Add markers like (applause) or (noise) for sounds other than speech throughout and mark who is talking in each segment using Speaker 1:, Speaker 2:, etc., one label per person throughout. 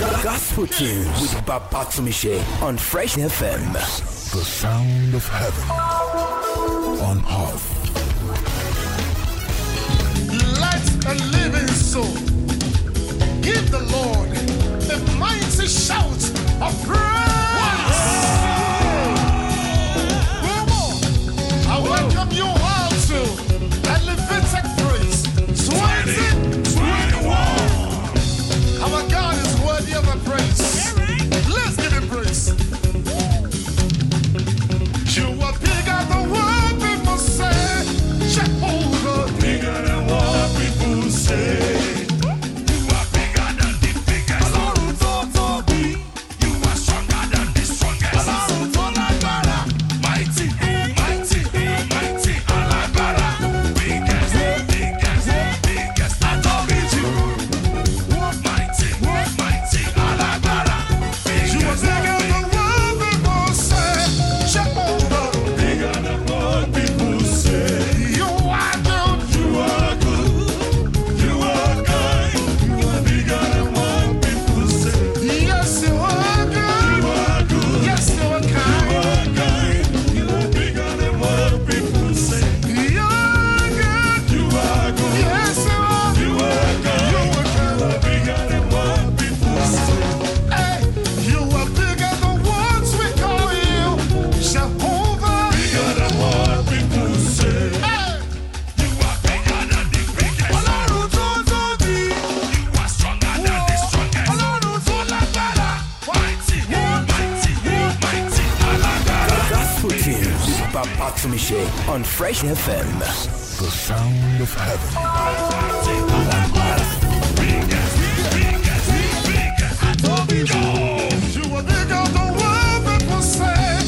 Speaker 1: gospel tunes with Babatunde on Fresh FM.
Speaker 2: The sound of heaven on earth.
Speaker 3: Let a living soul give the Lord the mighty shout of praise. One more. I welcome you all to the Levitic praise. 20, 21. Our God is worthy of a praise. Let's give him praise. You are bigger than what people say. Jehovah, bigger than what people say. Ọlọ́run tó tóbi. Ọlọ́run tó lágbára. You are bigger than what people say. Jehovah, bigger than what people say. You are good. You are good. You are kind. You are bigger than what people say. Yes, you are good. You are good. Yes, you are kind. You are kind. You are bigger than what people say. You are good. You are good. Yes, you are. You are kind. You are kind. You are bigger than what people say. Hey, you are bigger than what we call you. Jehovah. Bigger than what people say. Hey. Ọlọ́run tó tóbi. Ọlọ́run tó lágbára.
Speaker 1: The gospel tunes with Babatunde on Fresh FM.
Speaker 2: The sound of heaven
Speaker 3: You are bigger than what people say.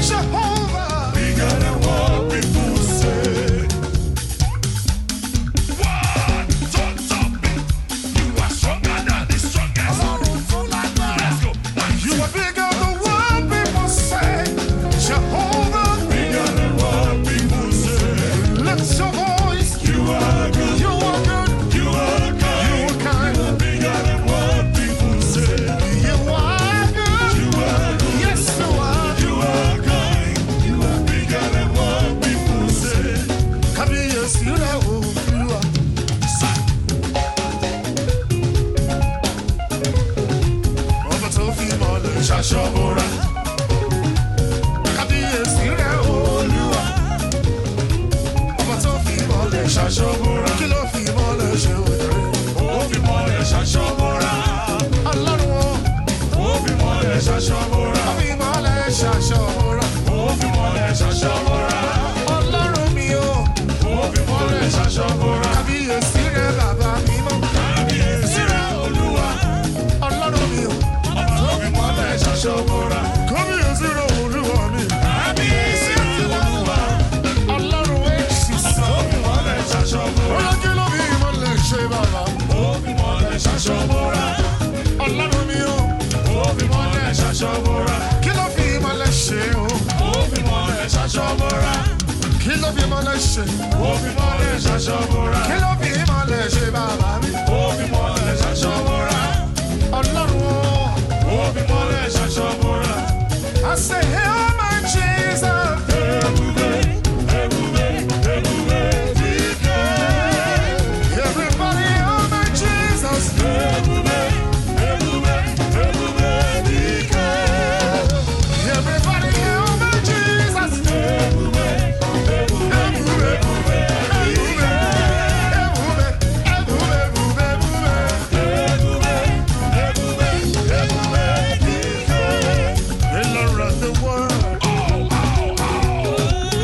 Speaker 3: Jehovah. Bigger than what people say. Ọlọ́run tó lágbára. You are bigger than what people say. Jehovah. Bigger than what people say. Lift your voice. You are good. You are good. You are kind. You are kind. You are bigger than what people say. You are good. You are good. Yes, you are. You are kind. You are bigger than what people say. Kábíyèsí rẹ̀ ò fi wá. Ọba tó fi mọ̀lẹ̀ ṣaṣọ bora. Kábíyèsí rẹ̀ olúwa. Ọba tó fi mọ̀lẹ̀ ṣaṣọ bora. Kí ló fi mọ̀lẹ̀ ṣe òjòrè? Ó fi mọ̀lẹ̀ ṣaṣọ bora. Ọlọ́run o. Ó fi mọ̀lẹ̀ ṣaṣọ bora. Ó fi mọ̀lẹ̀ ṣaṣọ bora. Ó fi mọ̀lẹ̀ ṣaṣọ bora. Ọlọ́run mi o. Ó fi mọ̀lẹ̀ ṣaṣọ bora. Kábíyèsí rẹ̀ bàbá mímọ́. Kábíyèsí rẹ̀ olúwa. Ọlọ́run mi o. Kábíyèsí rẹ̀ olúwa mi. Ọlọ́run èsì sọ. Olójú ló bí ìmọ̀lẹ̀ ṣe
Speaker 4: şey
Speaker 3: bàbá. Ọlọ́run mi o. Kí ló fi ìmọ̀lẹ̀ ṣe
Speaker 4: şey
Speaker 3: o? Kí ló fi ìmọ̀lẹ̀
Speaker 4: şey.
Speaker 3: ṣe? Kí ló fi ìmọ̀lẹ̀
Speaker 4: şey
Speaker 3: ṣe bàbá mi? Ọlọ́run o. I say, Hail my Jesus. Everybody, hail my Jesus. Everybody, hail my Jesus. All around the world,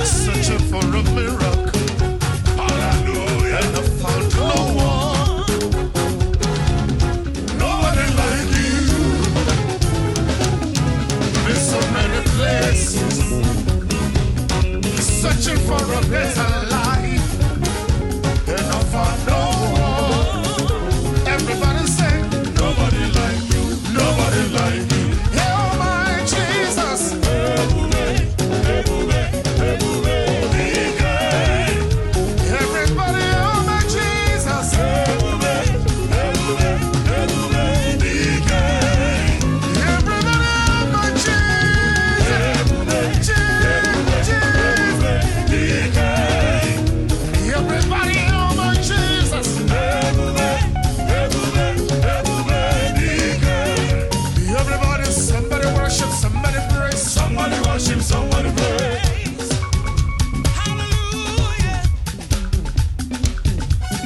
Speaker 3: searching for a miracle. And I found no one, nobody like you. Been so many places, searching for a better life, and I found no one. Everybody say, nobody like you, nobody like you. Hail my Jesus, everybody, hail my Jesus. Everybody,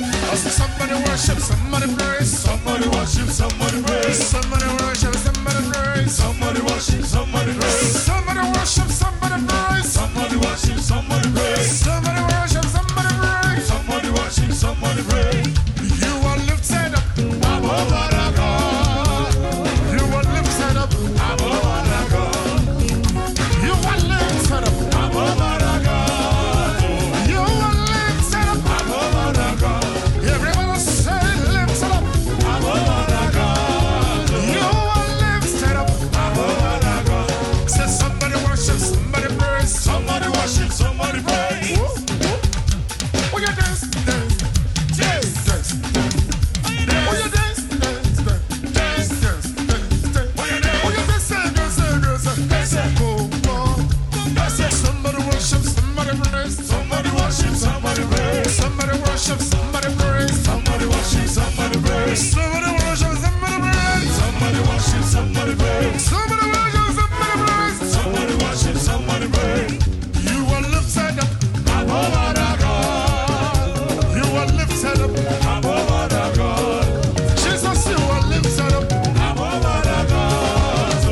Speaker 4: worship, somebody praise. Somebody worship, somebody praise. Somebody worship, somebody praise. Somebody worship, somebody praise. Somebody worship, somebody praise. Somebody worship, somebody praise. Somebody worship, somebody praise. Somebody worship, somebody praise. You are lifted up above our God. You are lifted up above our God. You are lifted up above our God. You are lifted up above our God. Everyone say lifted up above our God. You are lifted up above our God. Say somebody worship, somebody praise, somebody worship, somebody praise. Oh, you dance, dance, dance, dance, dance. Oh, you dance, dance, dance, dance, dance, dance, dance. Oh, you dance, dance, dance, dance, dance. Go, go. Somebody worship, somebody praise, somebody worship, somebody praise, somebody worship, somebody praise, somebody worship, somebody praise, somebody worship, somebody praise, somebody worship, somebody praise, somebody worship, somebody praise, somebody worship, somebody praise. You are lifted up above our God. You are lifted up above our God. Jesus, you are lifted up above our God.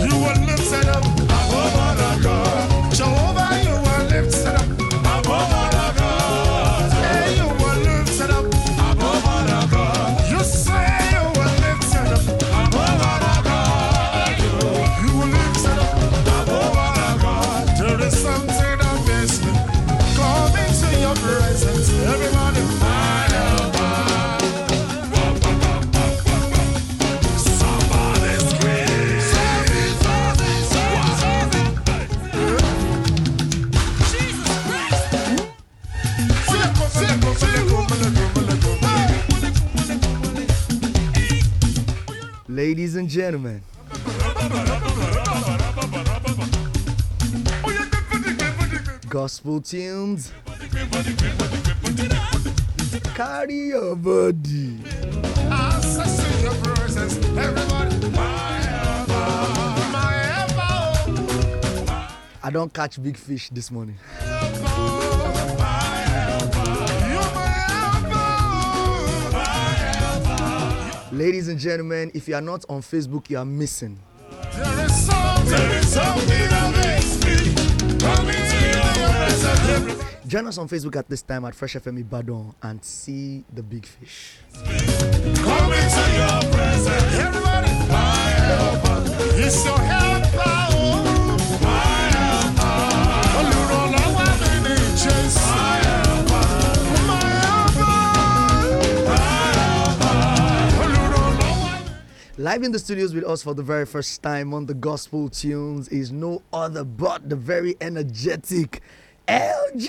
Speaker 4: You are lifted up above our God. Jehovah, you are lifted up above our God. Hey, you are lifted up above our God. You say you are lifted up above our God. You are lifted up above our God. There is something I'm missing. Come into your presence, everybody. I am Somebody's screaming.
Speaker 5: Ladies and gentlemen, gospel tunes. Carry your body. I don't catch big fish this morning. Ladies and gentlemen, if you are not on Facebook, you are missing.
Speaker 4: There is something, there is something that makes me come into your presence. Everybody
Speaker 5: Join us on Facebook at this time at Fresh FM Ibadan and see the big fish.
Speaker 4: Come into your presence, everybody. My helper, it's your helper. oh. My helper, olùrànlọ́wọ́ mi ni Jésù. My helper, my helper. My helper, olùrànlọ́wọ́ mi.
Speaker 5: Live in the studios with us for the very first time on the gospel tunes is no other but the very energetic LG.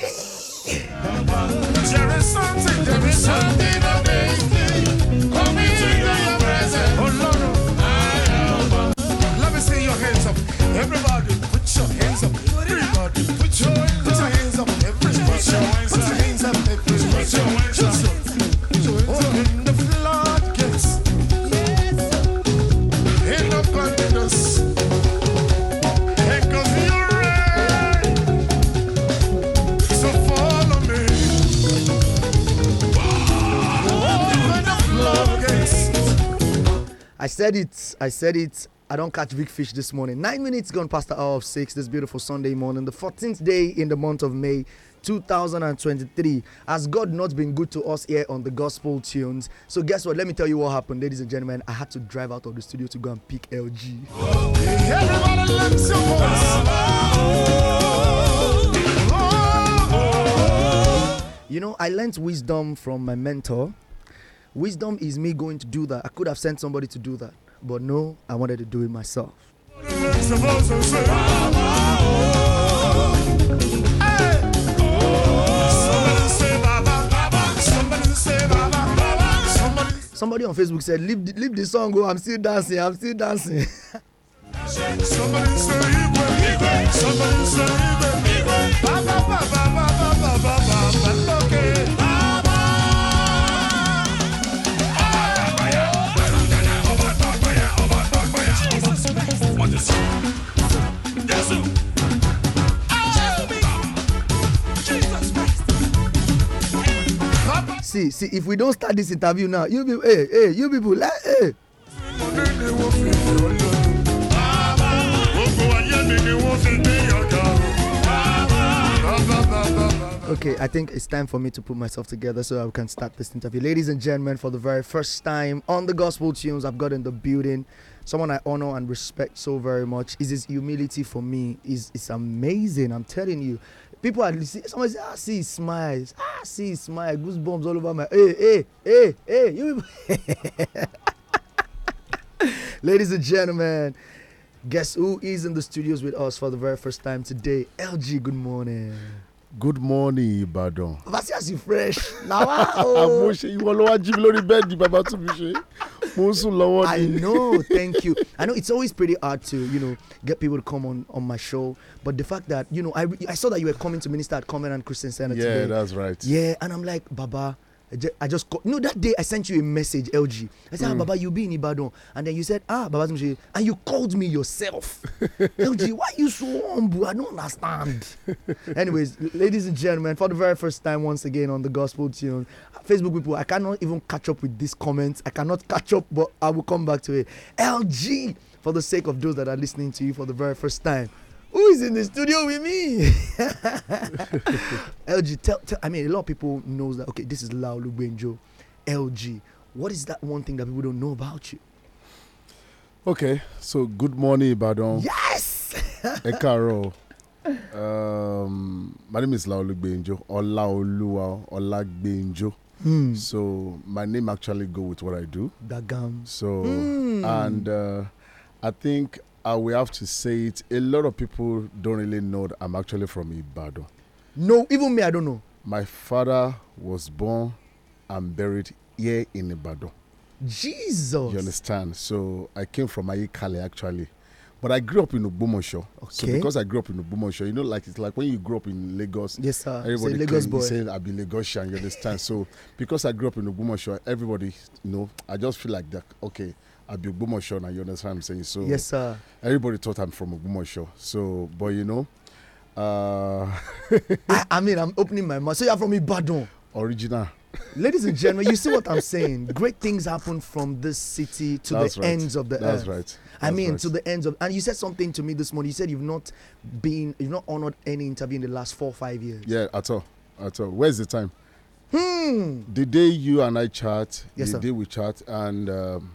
Speaker 4: There is something, there is something that makes me come into your presence. Oh Lord, my helper. Let me see your hands up, everybody. Put your hands up, everybody. Put your put your hands up, everybody. Put your hands up, everybody. Put your hands up. Open the floodgates. In abundance. Echoes your rain. So follow me.
Speaker 5: I said it, I said it. I don't catch big fish this morning. Nine minutes gone past the hour of six this beautiful Sunday morning, the 14th day in the month of May 2023. Has God not been good to us here on the gospel tunes? So, guess what? Let me tell you what happened, ladies and gentlemen. I had to drive out of the studio to go and pick LG.
Speaker 4: Everybody lift your voice.
Speaker 5: You know, I learnt wisdom from my mentor. Wisdom is me going to do that. I could have sent somebody to do that, but no, I wanted to do it myself.
Speaker 4: Lift your voice and say, Hey. Somebody say, Baba, Baba. Somebody say, Baba, Baba. Somebody
Speaker 5: Somebody on Facebook said, Leave, the- leave the song, oh, I'm still dancing, I'm still dancing. (laughs)
Speaker 4: Somebody say Igwe, Igwe. Somebody say Igwe, Igwe. Ba, ba, ba, ba, ba, ba, ba, ba, ba, ba, okay. Ba, ba. Ba, ba.
Speaker 5: see, see, if we don't start this interview now, you people, hey, hey, you people, like, hey. Okay, I think it's time for me to put myself together so I can start this interview. Ladies and gentlemen, for the very first time on the Gospel Tunes, I've got in the building someone I honor and respect so very much. Is his humility for me is it's amazing. I'm telling you, people are see someone say, I see his smiles, I see his smile, goosebumps all over my. Hey, hey, hey, hey, you. people." (laughs) Ladies and gentlemen, guess who is in the studios with us for the very first time today? LG, good morning.
Speaker 6: good morning ìbàdàn.
Speaker 5: Vasias, you fresh. Now, ah, oh,
Speaker 6: àmọ́ ṣe ìwọ ló wá jí mi lórí bẹ́ẹ̀dì bàbá tún mi ṣe mo ń sùn lọ́wọ́
Speaker 5: I
Speaker 6: ni.
Speaker 5: know, thank you. I know it's always pretty hard to, you know, get people to come on on my show, but the fact that, you know, I I saw that you were coming to minister at Covenant Christian Center
Speaker 6: yeah
Speaker 5: today.
Speaker 6: that's right.
Speaker 5: Yeah, and I'm like, Baba, I ju- I just, called. no, that day I sent you a message, LG. I said, ah, Baba, you'll be in Ibadan. And then you said, ah, Baba, Tunde," and you called me yourself. LG, why you so humble? I don't understand. Anyways, ladies and gentlemen, for the very first time, once again, on the Gospel Tune, Facebook people, I cannot even catch up with these comments. I cannot catch up, but I will come back to it. LG, for the sake of those that are listening to you for the very first time, who is in the studio with me? (laughs) LG, tell, tell, I mean, a lot of people knows that. Okay, this is Lau Lugbenjo. LG, what is that one thing that people don't know about you?
Speaker 6: okay so good morning ìbàdàn
Speaker 5: Yes. (laughs)
Speaker 6: ẹ káàárọ̀ um, my name is laolu gbenjo ọláolúwa ọlágbènjo
Speaker 5: Hmm.
Speaker 6: so my name actually go with what i do
Speaker 5: Dagam.
Speaker 6: so
Speaker 5: Hmm.
Speaker 6: and uh, i think i will have to say it a lot of people don't really know that i'm actually from ibadan.
Speaker 5: No, even me, I don't know.
Speaker 6: My father was born and buried here in Ibadan.
Speaker 5: Jesus.
Speaker 6: You understand? So I came from Ayikale actually. But I grew up in Ubumosho. So
Speaker 5: Okay.
Speaker 6: because I grew up in Ubumosho, you know, like it's like when you grew up in Lagos.
Speaker 5: Yes, sir. Say
Speaker 6: Everybody
Speaker 5: Lagos
Speaker 6: Lagos
Speaker 5: boy.
Speaker 6: boy. saying I be Lagosian, you understand? so because I grew up in Ubumosho, everybody you know, I just feel like that okay, I be Ubumosho now, you understand what I'm saying? So
Speaker 5: Yes, sir.
Speaker 6: everybody thought I'm from Ubumosho. So but you know, uh (laughs)
Speaker 5: I, I mean, I'm opening my mouth. So you're from Ibadan.
Speaker 6: original.
Speaker 5: Ladies and gentlemen, you see what I'm
Speaker 6: (laughs)
Speaker 5: saying? Great things happen from this city to
Speaker 6: That's
Speaker 5: the
Speaker 6: right.
Speaker 5: ends of the
Speaker 6: That's
Speaker 5: earth.
Speaker 6: right.
Speaker 5: I
Speaker 6: That's
Speaker 5: mean,
Speaker 6: right.
Speaker 5: to the ends of. And you said something to me this morning. You said you've not been, you've not honored any interview in the last four, five years.
Speaker 6: Yeah, at all. At all. Where's the time? Hmm. The day you and I chat,
Speaker 5: Yes,
Speaker 6: the
Speaker 5: sir.
Speaker 6: day we chat, and um,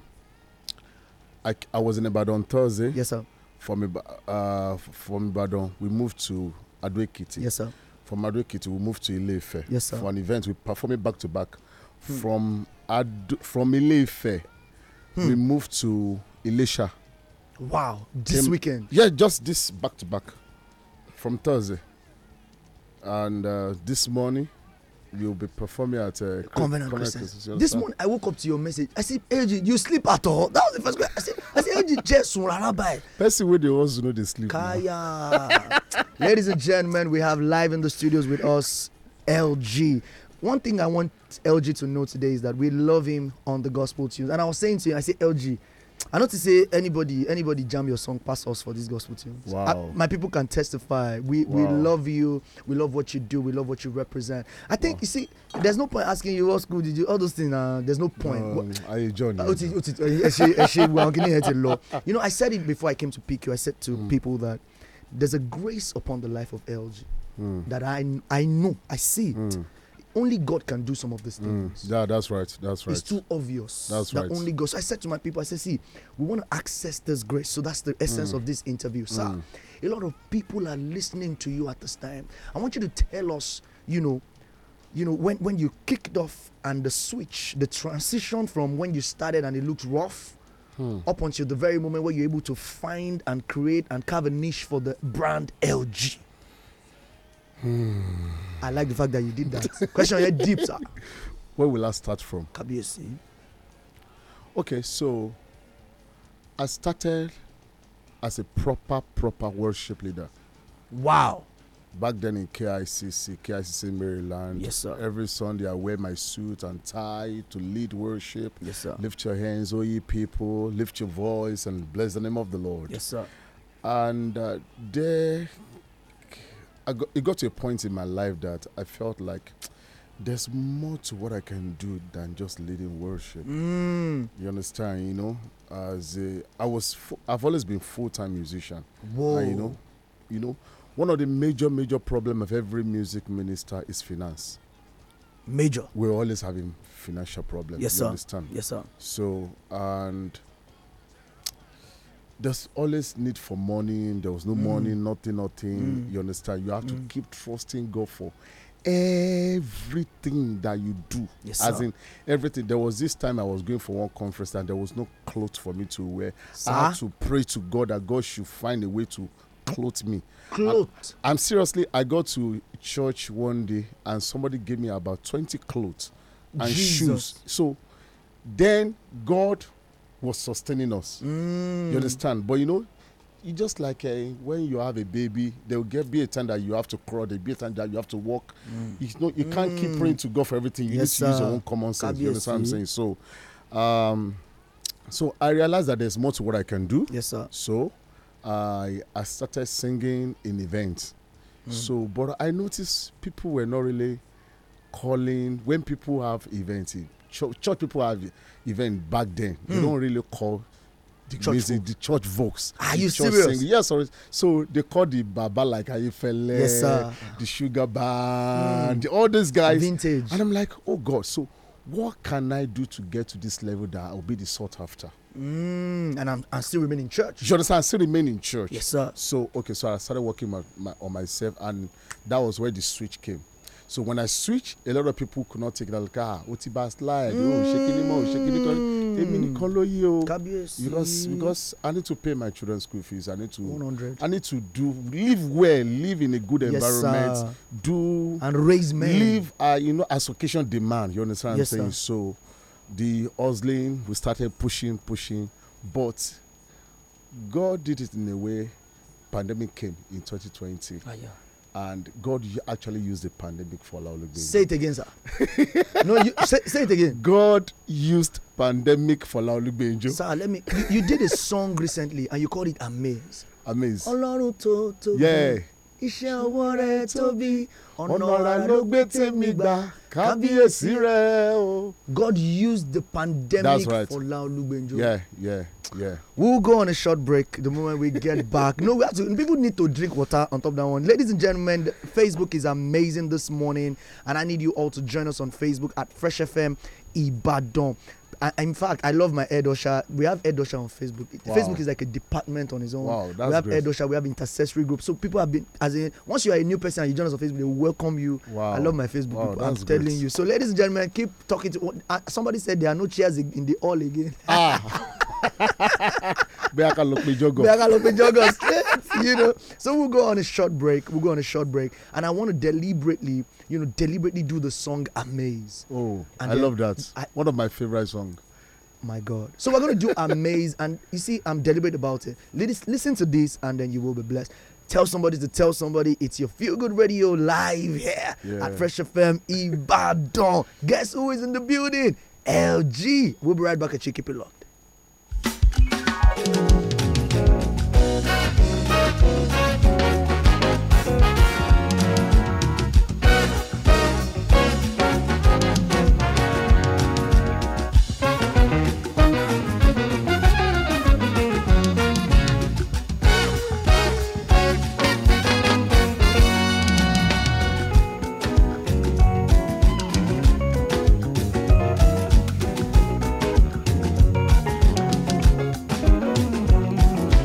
Speaker 6: I, I was in Ibadan Thursday.
Speaker 5: Yes, sir.
Speaker 6: From, Iba- uh, f- from Ibadan, we moved to Adwekiti.
Speaker 5: Yes, sir.
Speaker 6: From Adwekiti, we moved to Ileife.
Speaker 5: Yes, sir. Hmm.
Speaker 6: For an event, we performed it back to back. From Ad- from Ileife,
Speaker 5: Hmm.
Speaker 6: we moved to Ilesha.
Speaker 5: Wow. This
Speaker 6: Came-
Speaker 5: weekend.
Speaker 6: Yeah, just this back to back from Thursday. And uh, this morning, you'll be performing at uh, Cre-
Speaker 5: Covenant Christian.
Speaker 6: Christian, you
Speaker 5: This
Speaker 6: understand?
Speaker 5: morning I woke up to your message. I said, AJ, you sleep at all? That was the first question. I said, I said, AJ, just rabai.
Speaker 6: Person wey dey hustle no dey sleep. now.
Speaker 5: Kaya. (laughs) Ladies and gentlemen, we have live in the studios with us, LG. One thing I want LG to know today is that we love him on the gospel tunes. And I was saying to him, I say, LG, I not to say anybody, anybody jam your song past us for this gospel tunes.
Speaker 6: Wow.
Speaker 5: I- my people can testify. We we
Speaker 6: Wow.
Speaker 5: love you. We love what you do. We love what you represent. I think you see, there's no point asking you what school did you all those things. Uh, there's no point. Wha-
Speaker 6: Um, ayé john
Speaker 5: ó ti ó ti ẹ ṣe ẹ ṣe wa kí ni ẹ ti lọ you know i said it before i came to pick you i said to people that there's a grace upon the life of lg that i i know i see it only god can do some of these things
Speaker 6: yeah that's right that's right
Speaker 5: it's too obvious
Speaker 6: That's
Speaker 5: that
Speaker 6: right.
Speaker 5: only god so i said to my people i said see we want to access this grace so that's the
Speaker 6: Mm.
Speaker 5: essence of this interview sir a lot of people are listening to you at this time i want you to tell us you know you know when when you kicked off and the switch the transition from when you started and it looked rough
Speaker 6: Hmm.
Speaker 5: up until the very moment where you're able to find and create and carve a niche for the brand lg
Speaker 6: Hmm.
Speaker 5: i like the fact that you did that question here deep
Speaker 6: (laughs)
Speaker 5: sir
Speaker 6: where will i start from.
Speaker 5: Kabiyesi.
Speaker 6: okay so i started as a proper proper worship leader
Speaker 5: wow
Speaker 6: back then in KICC, KICC Maryland.
Speaker 5: Yes, sir.
Speaker 6: Every Sunday I wear my suit and tie to lead worship.
Speaker 5: Yes, sir.
Speaker 6: Lift your hands, O ye people, lift your voice and bless the name of the Lord.
Speaker 5: sir
Speaker 6: And uh, there, I got, it got to a point in my life that I felt like there's more to what I can do than just leading worship.
Speaker 5: Mm.
Speaker 6: You understand? You know, as a, I was, fu- I've always been full-time musician.
Speaker 5: Whoa.
Speaker 6: And, you know, you know, one of the major, major problem of every music minister is finance.
Speaker 5: Major.
Speaker 6: We're always having financial problems.
Speaker 5: Yes,
Speaker 6: you
Speaker 5: sir.
Speaker 6: Understand?
Speaker 5: Yes, sir.
Speaker 6: So and there's always need for money. There was no money, nothing, nothing.
Speaker 5: Mm.
Speaker 6: You understand? You have to
Speaker 5: Mm.
Speaker 6: keep trusting God for everything that you do.
Speaker 5: Yes,
Speaker 6: As
Speaker 5: sir.
Speaker 6: in everything. There was this time I was going for one conference and there was no clothes for me to wear. I had
Speaker 5: Sir?
Speaker 6: to pray to God that God should find a way to clothe me.
Speaker 5: Clothed.
Speaker 6: I'm seriously, I got to church one day and somebody gave me about 20 clothes and
Speaker 5: Jesus.
Speaker 6: shoes. So then God was sustaining us.
Speaker 5: Mm.
Speaker 6: You understand? But you know, you just like uh, when you have a baby, there will get be a time that you have to crawl, there will be a time that you have to walk. You know, you can't keep praying to God for everything. You
Speaker 5: Mm. Yes,
Speaker 6: need to use your
Speaker 5: sir.
Speaker 6: own common sense.
Speaker 5: Kábíyèsí.
Speaker 6: You understand what I'm saying? So, um, so I realized that there's more to what I can do.
Speaker 5: Yes, sir.
Speaker 6: So I I started singing in events.
Speaker 5: Hmm.
Speaker 6: So but I noticed people were not really calling when people have events. in- Church, church people have event back then. They don't really call the
Speaker 5: Hmm. Church
Speaker 6: music the church vox.
Speaker 5: Are
Speaker 6: the
Speaker 5: you
Speaker 6: church
Speaker 5: serious?
Speaker 6: singing. Yes, sorry. So they call the Baba like Ayefele,
Speaker 5: Yes, sir. Hmm.
Speaker 6: the Sugar Band, all these guys.
Speaker 5: Vintage.
Speaker 6: And I'm like, oh God. So what can I do to get to this level that I'll be the sought after?
Speaker 5: Mm, and I'm, I still remain in church.
Speaker 6: You understand? I still remain in church.
Speaker 5: Yes, sir.
Speaker 6: So okay, so I started working my, my, on myself, and that was where the switch came. So when I switched, a lot of people could not take that. Like, ah, ó ti bá slide, oh, shaking him, oh, shaking him, èmi nìkan ló yé o.
Speaker 5: Kábíyèsí.
Speaker 6: Because because I need to pay my children's school fees. I need to.
Speaker 5: 100.
Speaker 6: I need to do live well, live in a good
Speaker 5: Yes,
Speaker 6: environment.
Speaker 5: sir.
Speaker 6: Do
Speaker 5: And raise men.
Speaker 6: live uh, you know as occasion demand you understand
Speaker 5: Yes,
Speaker 6: what i'm saying
Speaker 5: sir.
Speaker 6: so the hustling we started pushing pushing but god did it in a way pandemic came in 2020
Speaker 5: Ah, yeah.
Speaker 6: and god u- actually used the pandemic for
Speaker 5: Say
Speaker 6: laolugbe
Speaker 5: it again, sir.
Speaker 6: (laughs)
Speaker 5: no, you, say, say it again.
Speaker 6: god used pandemic for laolugbe
Speaker 5: Sir, let me. You, you did a song recently and you called it Amaze.
Speaker 6: amaze
Speaker 5: Ọlọ́run tó tóbi.
Speaker 6: yeah
Speaker 5: Iṣẹ́ ọwọ́ rẹ̀ tóbi.
Speaker 6: ọ̀nà ọ̀la ló gbé tèmi gbà kábíyèsí rẹ̀ o.
Speaker 5: God used the pandemic
Speaker 6: That's right.
Speaker 5: for Laolugbenjo.
Speaker 6: yeah yeah yeah.
Speaker 5: We'll go on a short break the moment we
Speaker 6: (laughs)
Speaker 5: get back. No, we have to. People need to drink water on top of that one. Ladies and gentlemen, the Facebook is amazing this morning, and I need you all to join us on Facebook at Fresh FM Ibadan. I, in fact, I love my Edosha. We have Edosha on Facebook.
Speaker 6: Wow.
Speaker 5: Facebook is like a department on its own.
Speaker 6: Wow, that's
Speaker 5: we have
Speaker 6: great.
Speaker 5: Edosha, we have intercessory groups. So people have been, as in, once you are a new person and you join us on Facebook, they will welcome you.
Speaker 6: Wow.
Speaker 5: I love my Facebook
Speaker 6: Wow,
Speaker 5: group. I'm
Speaker 6: that's
Speaker 5: telling
Speaker 6: great.
Speaker 5: you. So, ladies and gentlemen, keep talking to. Uh, somebody said there are no chairs in in the hall again.
Speaker 6: bẹ́ẹ̀ ká ló pe jọ́gọ̀.
Speaker 5: Bẹ́ẹ̀ ká ló fi jog us straight, (laughs) you know. So we'll go on a short break. We'll go on a short break. And I want to deliberately, you know, deliberately do the song Amaze.
Speaker 6: Oh,
Speaker 5: And
Speaker 6: I
Speaker 5: then
Speaker 6: love that.
Speaker 5: I-
Speaker 6: One of my favorite songs.
Speaker 5: My God. So we're going to do Amaze. And you see, I'm deliberate about it. Ladies, listen to this and then you will be blessed. Tell somebody to tell somebody it's your Feel Good Radio live here
Speaker 6: Yeah.
Speaker 5: at Fresh FM Ibadan. Guess who is in the building? LG. We'll be right back at you. Keep it locked.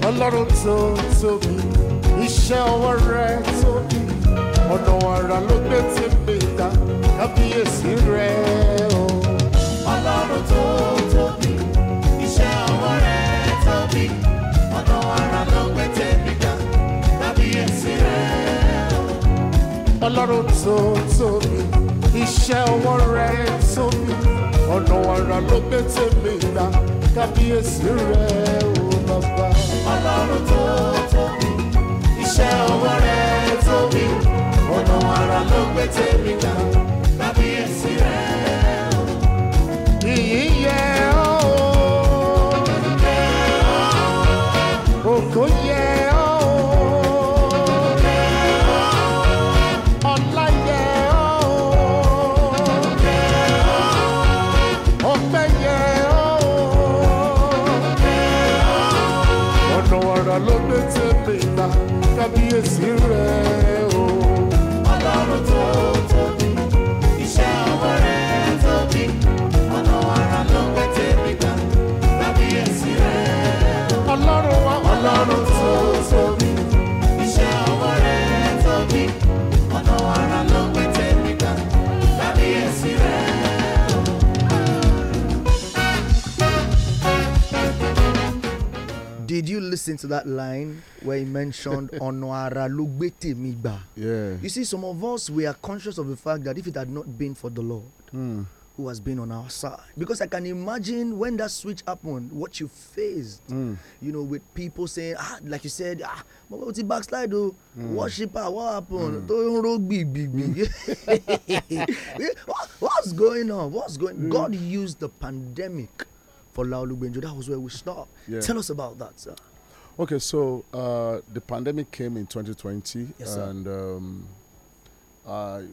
Speaker 6: ọlọ́run tó tóbi iṣẹ́ ọwọ́ rẹ̀ tóbi ọ̀nà àrà ló gbé tèmi ta kábíyèsí rẹ̀ o. ọlọ́run tó tóbi iṣẹ́ ọwọ́ rẹ̀ tóbi ọ̀nà àrà ló gbé tèmi ta kábíyèsí rẹ̀ o. ọlọ́run tó tóbi iṣẹ́ ọwọ́ rẹ̀ tóbi ọ̀nà àrà ló gbé tèmi ta kábíyèsí rẹ̀ o bàbá. ọlọ́run tó tóbi iṣẹ́ ọwọ́ rẹ̀ tóbi ọ̀nà àrà ló gbé tèmi ta kábíyèsí rẹ̀ o. ìyìn yẹ ọ́ o ògo yẹ ọ́ o. Ọlá yẹ ọ́ o. Uh.
Speaker 5: listen to that line where he
Speaker 6: (laughs)
Speaker 5: mentioned Onoara Lugbete Migba.
Speaker 6: Yeah.
Speaker 5: You see, some of us, we are conscious of the fact that if it had not been for the Lord, who has been on our side, because I can imagine when that switch happened, what you faced, you know, with people saying, ah, like you said, ah, but what the backslide, oh, worshiper, what happened? Tó ń ró (laughs) gbìgbìgbì. What- What's going on? What's going God used the pandemic for Laolu Benjo. That was where we stopped.
Speaker 6: Yeah.
Speaker 5: Tell us about that, sir.
Speaker 6: Okay, so uh, the pandemic came in 2020,
Speaker 5: Yes, sir.
Speaker 6: and um, I,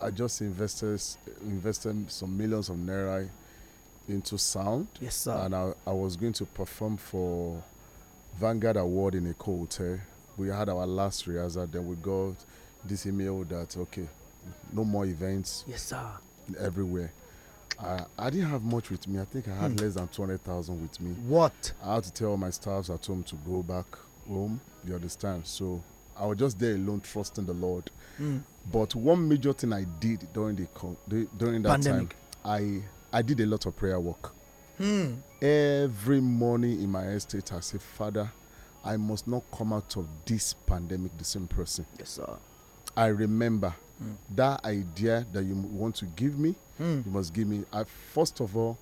Speaker 6: I just invested invested some millions of naira into sound.
Speaker 5: Yes, sir.
Speaker 6: And I, I was going to perform for Vanguard Award in a co hotel. We had our last rehearsal, then we got this email that okay, no more events
Speaker 5: Yes, sir.
Speaker 6: everywhere. I, I didn't have much with me. I think I had
Speaker 5: Hmm.
Speaker 6: less than 200,000 with me.
Speaker 5: What?
Speaker 6: I had to tell my staffs at home to go back home. You understand? So I was just there alone, trusting the Lord. But one major thing I did during the co- the- during that
Speaker 5: Pandemic.
Speaker 6: time, I I did a lot of prayer work. Every morning in my estate, I say, Father, I must not come out of this pandemic the same person.
Speaker 5: Yes, sir.
Speaker 6: I remember that idea that you want to give me.
Speaker 5: Hmm.
Speaker 6: You must give me. I, first of all,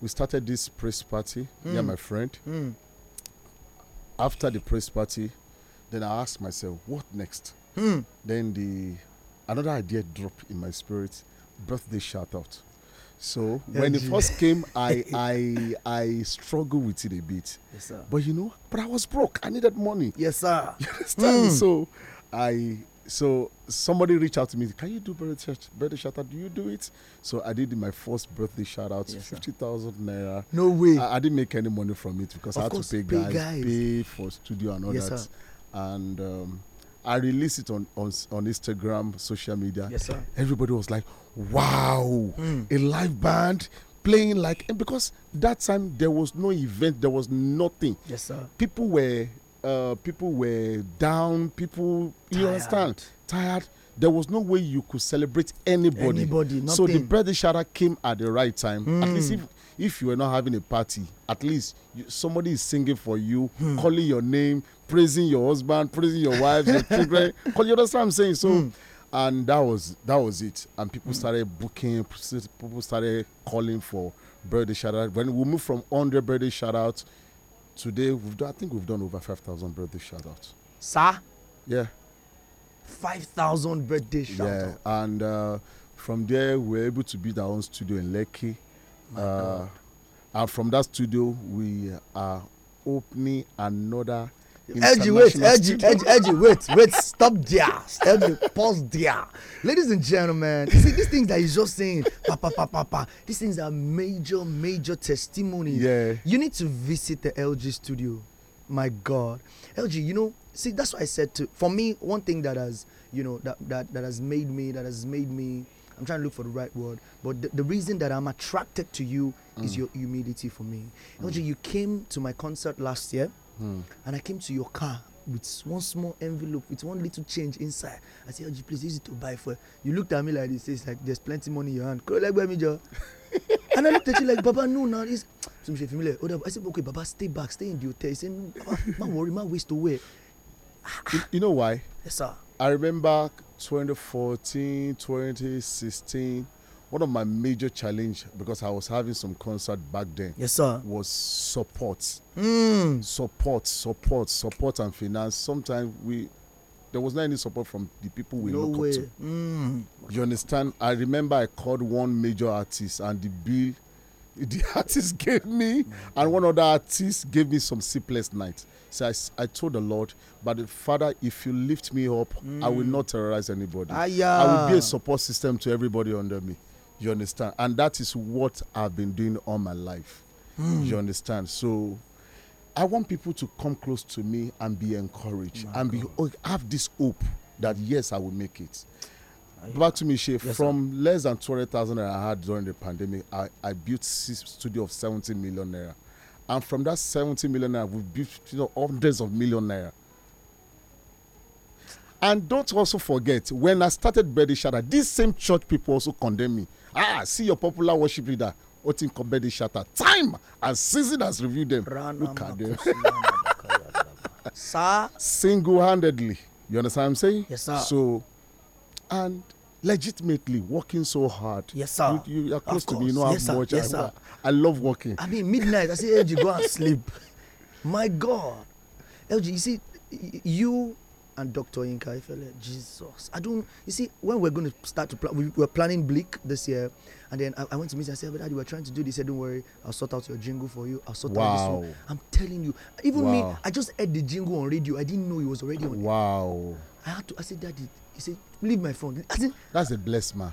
Speaker 6: we started this press party. Me
Speaker 5: Hmm.
Speaker 6: and my friend. After the press party, then I asked myself, what next?
Speaker 5: Hmm.
Speaker 6: Then the another idea dropped in my spirit: birthday shout out. So when it
Speaker 5: Eji.
Speaker 6: first came,
Speaker 5: (laughs)
Speaker 6: I I I struggled with it a bit.
Speaker 5: Yes, sir.
Speaker 6: But you know, but I was broke. I needed money.
Speaker 5: Yes, sir.
Speaker 6: (laughs) understand?
Speaker 5: Hmm.
Speaker 6: So I so somebody reached out to me. Can you do birthday shout, birthday shout out? Do you do it? So I did my first birthday shout out,
Speaker 5: Yes, sir.
Speaker 6: fifty thousand naira.
Speaker 5: No way.
Speaker 6: I, I didn't make any money from it because
Speaker 5: Of
Speaker 6: I had
Speaker 5: course,
Speaker 6: to pay
Speaker 5: pay
Speaker 6: guys,
Speaker 5: guys.
Speaker 6: pay for studio and all
Speaker 5: Yes,
Speaker 6: that.
Speaker 5: sir.
Speaker 6: And um, I released it on, on s- on Instagram, social media.
Speaker 5: Yes, sir. Hmm.
Speaker 6: Everybody was like, "Wow, a live band playing like." And because that time there was no event, there was nothing
Speaker 5: yes, sir.
Speaker 6: people were uh, people were down people you
Speaker 5: Tired.
Speaker 6: understand tired there was no way you could celebrate anybody
Speaker 5: Anybody,
Speaker 6: so the
Speaker 5: nothing. Hmm.
Speaker 6: birthday shower came at the right time at least if if you were not having a party at least you, somebody is singing for you
Speaker 5: Hmm.
Speaker 6: calling your name praising your husband praising your wife
Speaker 5: (laughs)
Speaker 6: your children call you understand what i'm saying so
Speaker 5: Hmm.
Speaker 6: and that was that was it and people started booking people started calling for birthday shout out when we moved from 100 birthday shout out today we've done, i think we've done over 5000 birthday shout outs
Speaker 5: Sir,
Speaker 6: yeah
Speaker 5: 5,000 birthday shout
Speaker 6: yeah
Speaker 5: out.
Speaker 6: and uh, from there we were able to build our own studio in lekki uh, and from that studio we are opening another
Speaker 5: Edgy, wait,
Speaker 6: international
Speaker 5: edgy,
Speaker 6: studio.
Speaker 5: edgy, edgy, wait, wait, stop there. Edgy, pause there. Ladies and gentlemen, you see, these things that he's just saying, pa, pa, pa, pa, pa, these things are major, major testimonies.
Speaker 6: Yeah.
Speaker 5: You need to visit the LG studio. My God. LG, you know, see, that's what I said to, for me, one thing that has, you know, that, that, that has made me, that has made me, I'm trying to look for the right word, but the, the reason that I'm attracted to you is your humility for me. LG, you came to my concert last year and I came to your car with one small envelope with one little change inside. I said, LG, please use it to buy for. You looked at me like this, it's like there's plenty money in your hand. Go like me, Joe. and I looked at you like, Baba, no, no, it's. So Mr. Fimile, oh, I said, okay, Baba, stay back, stay in the hotel. He said, no, Baba, man, worry, man, waste away.
Speaker 6: you, you know why
Speaker 5: Yes, sir.
Speaker 6: I remember 2014, 2016, one of my major challenge because I was having some concert back then
Speaker 5: Yes, Hmm. sir.
Speaker 6: was support. Support, support, support and finance. Sometimes we there was not any support from the people we
Speaker 5: No
Speaker 6: look
Speaker 5: way.
Speaker 6: up to. You understand? I remember I called one major artist and the bill (laughs) the artist gave me and one other artist gave me some sleepless night. So I, s- I told the Lord, but the Father, if you lift me up, I will not terrorize anybody. I will be
Speaker 5: Aya.
Speaker 6: a support system to everybody under me. You understand? And that is what I've been doing all my life. You understand? So I want people to come close to me and be encouraged and be oh, have this hope that yes, I will make it. Back to me,
Speaker 5: Yes,
Speaker 6: Chef.
Speaker 5: sir.
Speaker 6: from less than 200,000 naira I had during the pandemic, I, I built a studio of 70 million naira. And from that 70 million naira, we've built you know, hundreds of million naira. And don't also forget, when I started Birthday Shatter, these same church people also condemned me. Ah, see your popular worship leader, Otin Birthday Shatter. Time and season has reviewed them.
Speaker 5: Rana
Speaker 6: Look at them.
Speaker 5: Makosi, Rana Makosi, Rana Makosi. sir.
Speaker 6: single-handedly. You understand what I'm saying?
Speaker 5: Yes, sir.
Speaker 6: So, and legitimately working so hard.
Speaker 5: Yes, sir.
Speaker 6: You, you are
Speaker 5: Of
Speaker 6: close to me. You know
Speaker 5: course.
Speaker 6: how
Speaker 5: Yes, sir.
Speaker 6: much
Speaker 5: Yes,
Speaker 6: I,
Speaker 5: sir.
Speaker 6: I love working.
Speaker 5: I mean, midnight. I say, LG, go and sleep. My God. LG, you see, y- you and Dr. Inka Ifele, Jesus. I don't, you see, when we're going to start to plan, we were planning Bleak this year. And then I, I went to meet and I said, but Daddy, we're trying to do this. He said, don't worry, I'll sort out your jingle for you. I'll sort out this
Speaker 6: Wow.
Speaker 5: one. I'm telling you. Even me,
Speaker 6: Wow.
Speaker 5: I just heard the jingle on radio. I didn't know it was already on.
Speaker 6: Wow,
Speaker 5: I had to, I said, Daddy, he said, leave my phone. I said,
Speaker 6: that's a blessed man.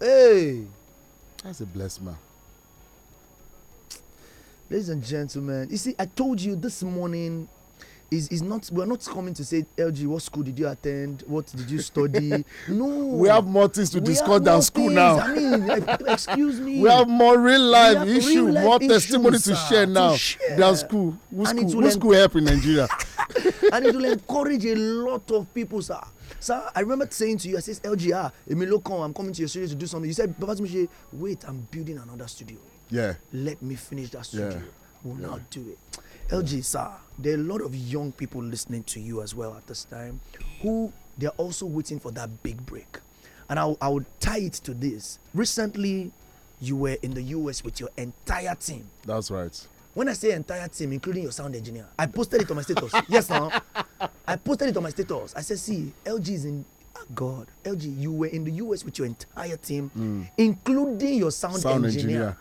Speaker 5: hey.
Speaker 6: That's a blessed man.
Speaker 5: Ladies and gentlemen, you see, I told you this morning is is not we're not coming to say LG, what school did you attend? What did you
Speaker 6: (laughs)
Speaker 5: study? no.
Speaker 6: We have more things to
Speaker 5: Oh. We
Speaker 6: discuss
Speaker 5: have
Speaker 6: than
Speaker 5: more
Speaker 6: school
Speaker 5: things.
Speaker 6: now.
Speaker 5: I mean, like, excuse me.
Speaker 6: (laughs) We have more real life
Speaker 5: have
Speaker 6: issue,
Speaker 5: real life
Speaker 6: more testimony to
Speaker 5: issues, sir,
Speaker 6: share
Speaker 5: to
Speaker 6: now
Speaker 5: share.
Speaker 6: than school. Who
Speaker 5: And it
Speaker 6: school,
Speaker 5: will
Speaker 6: who
Speaker 5: en-
Speaker 6: school help
Speaker 5: (laughs)
Speaker 6: in Nigeria?
Speaker 5: and it will encourage a lot of people, sir. Sir, I remember saying to you, I said, LG, ah, Emilio, come, I'm coming to your studio to do something. You said, Baba Tumishe, wait, I'm building another studio.
Speaker 6: yeah.
Speaker 5: let me finish that studio.
Speaker 6: Yeah.
Speaker 5: We'll now do it. LG, sir, there are a lot of young people listening to you as well at this time who they're also waiting for that big break. And I'll, I'll tie it to this. Recently, you were in the US with your entire team.
Speaker 6: That's right.
Speaker 5: When I say entire team, including your sound engineer, I posted it on my
Speaker 6: (laughs)
Speaker 5: status. yes, now. I posted it on my status. I said, see, LG is in. ah, God, LG, you were in the US with your entire team, including your sound,
Speaker 6: Mm. Sound
Speaker 5: engineer.
Speaker 6: engineer.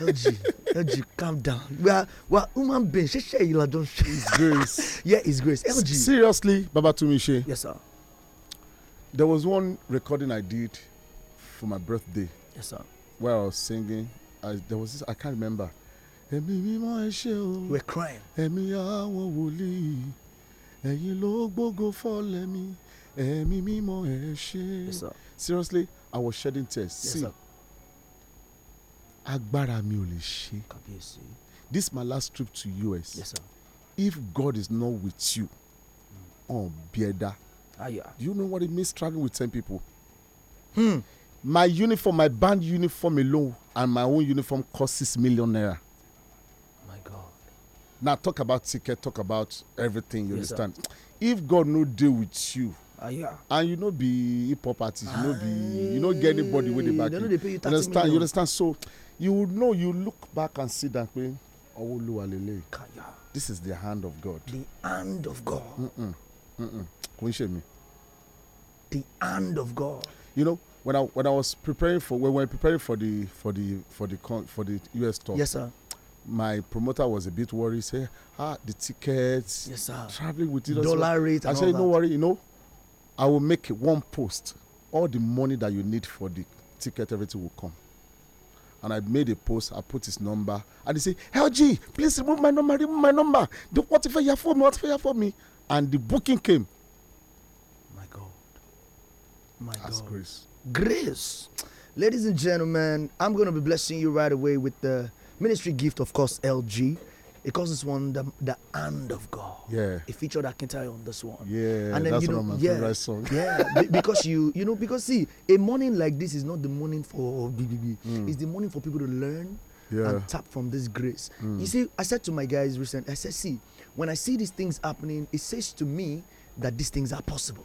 Speaker 5: LG, LG, calm down. We are, we are human beings. Sheshe Ila don't His (laughs)
Speaker 6: Grace.
Speaker 5: Yeah, it's grace. LG.
Speaker 6: Seriously, Baba Tumishe,
Speaker 5: yes, sir.
Speaker 6: there was one recording I did for my birthday
Speaker 5: Yes, sir.
Speaker 6: where I was singing. I, there was this, I can't remember. Ẹ̀mí mímọ́ ẹ ṣé o.
Speaker 5: We're crying.
Speaker 6: ẹ̀mí àwọn wòlíì ẹ̀yin ló gbógo fọ́lẹ́mí ẹ̀mí mímọ́ ẹ̀
Speaker 5: Yes,
Speaker 6: ṣe.
Speaker 5: sir.
Speaker 6: seriously i was shedding tears
Speaker 5: Yes,
Speaker 6: see
Speaker 5: sir.
Speaker 6: agbára mi ò lè ṣe
Speaker 5: Kabiyesi.
Speaker 6: this is my last trip to us
Speaker 5: Yes, sir.
Speaker 6: if god is not with you
Speaker 5: Mm.
Speaker 6: on bieda
Speaker 5: Ah, yeah.
Speaker 6: do you know what it means traveling with ten people
Speaker 5: Hmm.
Speaker 6: my uniform my band uniform alone and my own uniform cost six million naira
Speaker 5: My God.
Speaker 6: now talk about ticket talk about everything you
Speaker 5: Yes, sir.
Speaker 6: understand if god no dey with you
Speaker 5: Ah, yeah.
Speaker 6: and you no be hip hop artist you no be you no get anybody wey dey
Speaker 5: Aye,
Speaker 6: back
Speaker 5: they
Speaker 6: you
Speaker 5: no dey pay you
Speaker 6: you
Speaker 5: 30
Speaker 6: understand
Speaker 5: million.
Speaker 6: you understand so you would know you look back and see that pe owo oluwa lele
Speaker 5: Kaya.
Speaker 6: this is the hand of god
Speaker 5: The hand of God.
Speaker 6: kò n ṣe mi
Speaker 5: The hand of God.
Speaker 6: you know when i when i was preparing for when we were preparing for the for the for the con for the us tour
Speaker 5: Yes, sir.
Speaker 6: my promoter was a bit worried say ah the tickets
Speaker 5: Yes, sir.
Speaker 6: traveling with it
Speaker 5: Dollar rate
Speaker 6: i
Speaker 5: and
Speaker 6: say
Speaker 5: all
Speaker 6: no
Speaker 5: that."
Speaker 6: worry you know i will make one post all the money that you need for the ticket everything will come and i made a post i put his number and he say lg please remove my number remove my number do what if you for me what if you for me and the booking came
Speaker 5: My God. My
Speaker 6: as
Speaker 5: God.
Speaker 6: grace
Speaker 5: grace. Ladies and gentlemen, I'm going to be blessing you right away with the ministry gift, of course, LG. It calls this one the, the hand of God.
Speaker 6: Yeah.
Speaker 5: It featured Akintayo on this one.
Speaker 6: Yeah, that's one of my favorite song.
Speaker 5: Yeah, be- because you you know because see a morning like this is not the morning for BBB. It's the morning for people to learn
Speaker 6: Mm. Yeah. Mm.
Speaker 5: and tap from this grace. You see, I said to my guys recently, I said, see, when I see these things happening, it says to me that these things are possible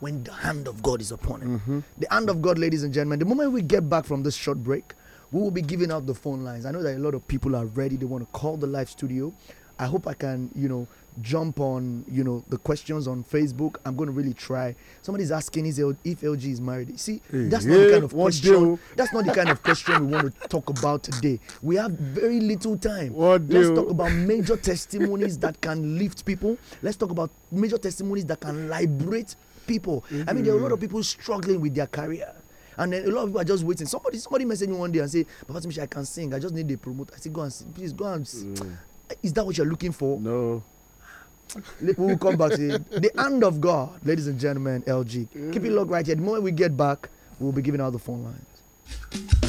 Speaker 5: when the hand of God is upon it.
Speaker 6: Mm-hmm.
Speaker 5: The hand of God, ladies and gentlemen, the moment we get back from this short break, we will be giving out the phone lines. I know that a lot of people are ready. They want to call the live studio. I hope I can, you know, jump on, you know, the questions on Facebook. I'm going to really try. Somebody's asking is L- if LG is married. See,
Speaker 6: Hey,
Speaker 5: that's not the kind
Speaker 6: yeah,
Speaker 5: of
Speaker 6: one
Speaker 5: question.
Speaker 6: day. oh.
Speaker 5: That's not the kind of question we want to talk about today. We have very little time.
Speaker 6: One
Speaker 5: Let's
Speaker 6: day.
Speaker 5: talk about major testimonies that can lift people. Let's talk about major testimonies that can liberate people. I mean, there are a lot of people struggling with their career. And then a lot of people are just waiting. Somebody, somebody messaged me one day and say, Papa Timishi, I can sing. I just need a promoter. I said, go and sing. please go and. s- Is that what you're looking for?
Speaker 6: no
Speaker 5: Le- we will come back to it. The hand of God, ladies and gentlemen, LG. Keep it locked right here. The moment we get back, we'll be giving out the phone lines.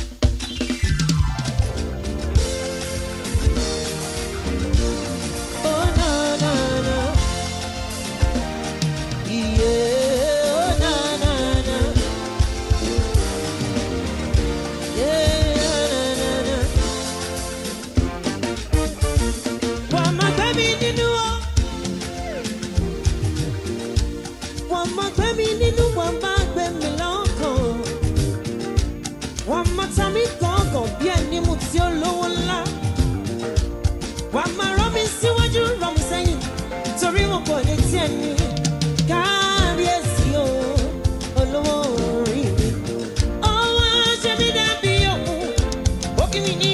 Speaker 7: Wà á máa gbé mi nínú o,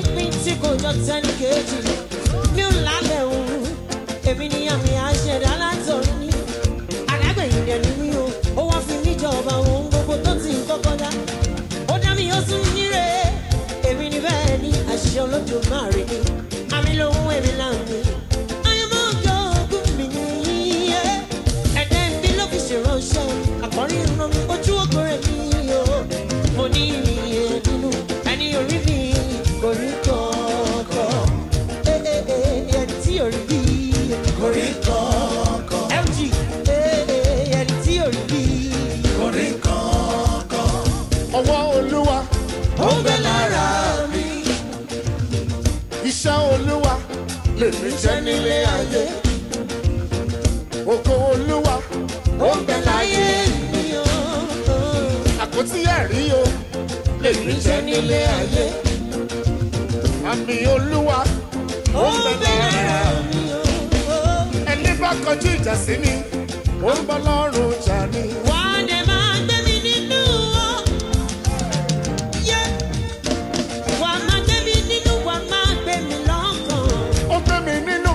Speaker 7: tẹ́ni kejì mi ò lálẹ́ o èmi ni àmì àṣẹdá látọ̀run ni alágbẹ̀yìn dẹ̀ ni mí o ó wá fi mí jọba ohun gbogbo tó ti ń kọ́kọ́ dá ó dá mi ó tún níre èmi ni bẹ́ẹ̀ ni àṣìṣe olódùmarè ni àmì lòun èmi láàmì ayọ̀mọ́ ọjọ́ ogún mi ni ẹ̀dẹ́ mi ló fi ṣèránṣẹ́ àkọ́rí ìran mi ojú ògbórè mi o mo ní ìyè nínú ẹni orí mi kò rí kọ̀ọ̀kan ẹni tí ò rí bí kò rí kọ̀ọ̀kan mg ẹni tí ò rí bí kò rí
Speaker 4: ọwọ́ olúwa
Speaker 7: ó ń bẹ lára mi
Speaker 4: iṣẹ́ olúwa lèmi jẹ́ nílé ayé ògo olúwa
Speaker 7: ó ń bẹ láyé mi o
Speaker 4: àpótí ẹ̀rí o lèmi jẹ́ nílé ayé àmì olúwa
Speaker 7: ó ń bẹ lára mi o.
Speaker 4: ẹni bá kọjú ìjà sí mi ó ń bọ́ lọ́rùn jà ni.
Speaker 7: Wọ́n dẹ̀ máa gbé mi nínú wọn. Yé! Wọ́n máa gbé mi nínú, wọ́n máa gbé mi lọ́kàn.
Speaker 4: ó gbé mi nínú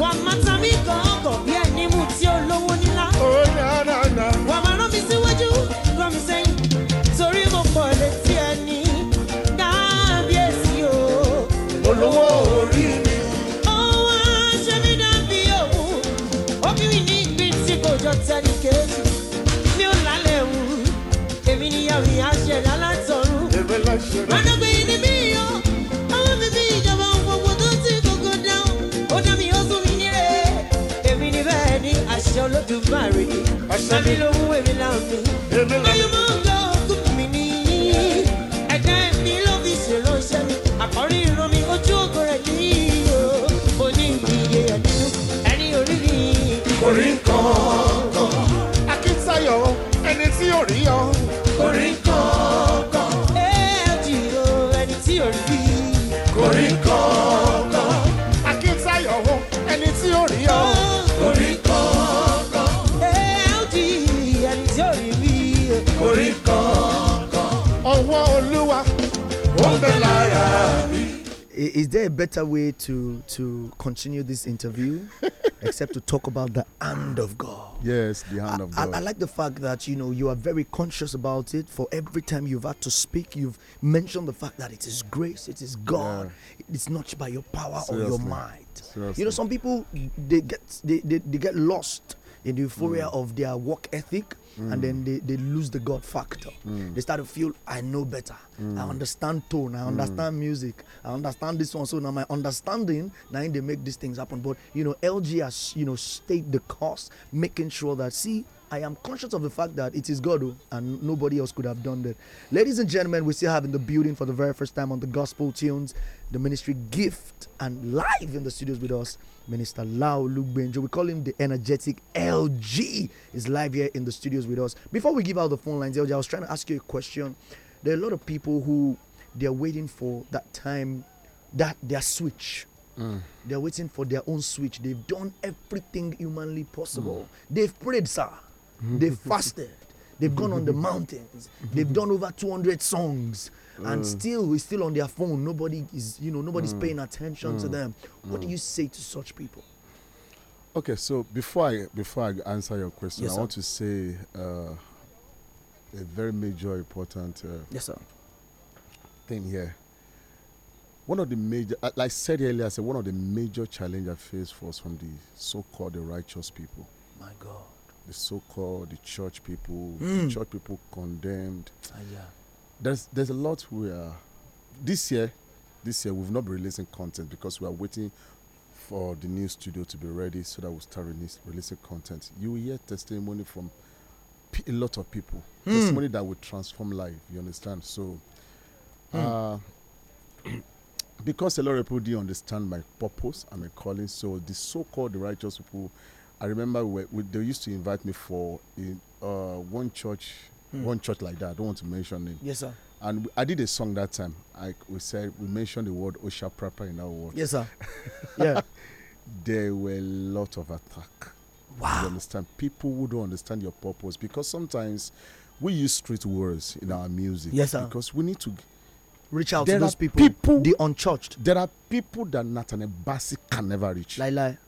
Speaker 7: Wọ́n máa ta mí gọ̀ọ̀gọ̀ bí ẹni mú tí olówó nílá.
Speaker 4: òye ara náà.
Speaker 7: Wọ́n máa rán mi síwájú, rán mi sẹ́yìn. Torí mo pọ̀ létí ẹni. Kábíyèsí o.
Speaker 4: olówó orí mi
Speaker 7: Ó wá ṣe mí dàbí òun. Ó bí mi ní ìgbín tí kò jọ tẹ́ni kejì. Mi ò lálẹ́ wù. Èmi níyàwó ìyá ṣẹ̀dá látọ̀run.
Speaker 4: èmi lọ ṣe rẹ.
Speaker 7: Adọ́gbé ni mí o, àwọn bíbí ìjọba gbogbo tó ti gbogbo dáhùn. Ó dá mi ó sún mi níre. Èmi ni bẹ́ẹ̀ ni àṣẹ olódùmarè ni.
Speaker 4: Àṣẹ
Speaker 7: Àmì
Speaker 4: mi.
Speaker 7: lòun èmi láàmì.
Speaker 4: Èmi làmì.
Speaker 7: Ayọ̀mọ̀ ọ̀gá ògùn mi ní. Ẹ̀jẹ̀ mi ló fi ṣèrànṣẹ́ mi. Àkọ́rí ìran mi ojú ògo rẹ̀ ní o. Mo ní ìyè ẹ̀dínú, ẹni orí mi.
Speaker 4: orí kọ̀ọ̀kan. akíntayọ̀ ẹni tí ò rí ọ. orí kọ̀ọ̀kan.
Speaker 7: Ẹ̀ẹ́dì o, ẹni tí ò rí bí.
Speaker 4: orí kọ̀ọ̀kan. akíntayọ̀ ẹni tí ò rí ọ. orí kọ̀ọ̀kan.
Speaker 7: Ẹ̀ẹ́dì, ẹni tí ò rí bí.
Speaker 4: orí kọ̀ọ̀kan. ọwọ́ olúwa ó ń bẹ lára mi.
Speaker 5: I- Is there a better way to to continue this
Speaker 6: (laughs)
Speaker 5: interview, except to talk about the hand of God?
Speaker 6: Yes, the hand of
Speaker 5: I,
Speaker 6: God.
Speaker 5: I like the fact that you know you are very conscious about it. For every time you've had to speak, you've mentioned the fact that it is grace, it is God, it's not by your power or your
Speaker 6: Seriously.
Speaker 5: might. You know,
Speaker 6: Seriously.
Speaker 5: some people they get they, they, they get lost in the euphoria of their work ethic, and then they, they lose the God factor. They start to feel I know better. I understand tone. I understand music. I understand this one. So now my understanding now they make these things happen. But you know, LG has you know state the cost, making sure that see I am conscious of the fact that it is God who- and nobody else could have done that. Ladies and gentlemen, we still have in the building for the very first time on the Gospel Tunes, the ministry gift, and live in the studios with us, Minister Lao Lugbenjo. We call him the energetic LG, is live here in the studios with us. Before we give out the phone lines, LG, I was trying to ask you a question. There are a lot of people who they're waiting for that time, that their switch. They're waiting for their own switch. They've done everything humanly possible.
Speaker 6: Mm.
Speaker 5: They've prayed, sir.
Speaker 6: (laughs)
Speaker 5: They've fasted. They've gone on the mountains. They've done over 200 songs.
Speaker 6: Mm.
Speaker 5: And still, we're still on their phone. Nobody is, you know, nobody's paying attention
Speaker 6: Mm.
Speaker 5: to them. What do you say to such people?
Speaker 6: Okay, so before I before I answer your question,
Speaker 5: Yes,
Speaker 6: I
Speaker 5: sir.
Speaker 6: want to say uh, a very major important uh,
Speaker 5: Yes, sir.
Speaker 6: thing here. One of the major, uh, like I said earlier, I said one of the major challenge I face was from the so-called the righteous people,
Speaker 5: My God. Hmm.
Speaker 6: the so-called the church people, the church people condemned.
Speaker 5: Ah, yeah.
Speaker 6: There's there's a lot we are. This year, this year we've not been releasing content because we are waiting for the new studio to be ready so that we start release, releasing content. You will hear testimony from pe- a lot of people, testimony that will transform life. You understand? So. Uh, (clears throat) because a lot of people didn't understand my purpose and my calling. So the so-called righteous people, I remember we, we, they used to invite me for in, uh, one church, one church like that. I don't want to mention name.
Speaker 5: Yes, sir.
Speaker 6: And we, I did a song that time. I we said we mentioned the word Osha Prapa in our word. (laughs)
Speaker 5: Yes, sir. yeah.
Speaker 6: There were a lot of attack. Wow. You understand? People who don't understand your purpose because sometimes we use street words in our music.
Speaker 5: Yes, sir.
Speaker 6: Because we need to.
Speaker 5: reach out
Speaker 6: There
Speaker 5: to those
Speaker 6: are
Speaker 5: people,
Speaker 6: people-
Speaker 5: the unchurched.
Speaker 6: There are people that Nathaniel Bassey can never reach.
Speaker 5: Lie, lie.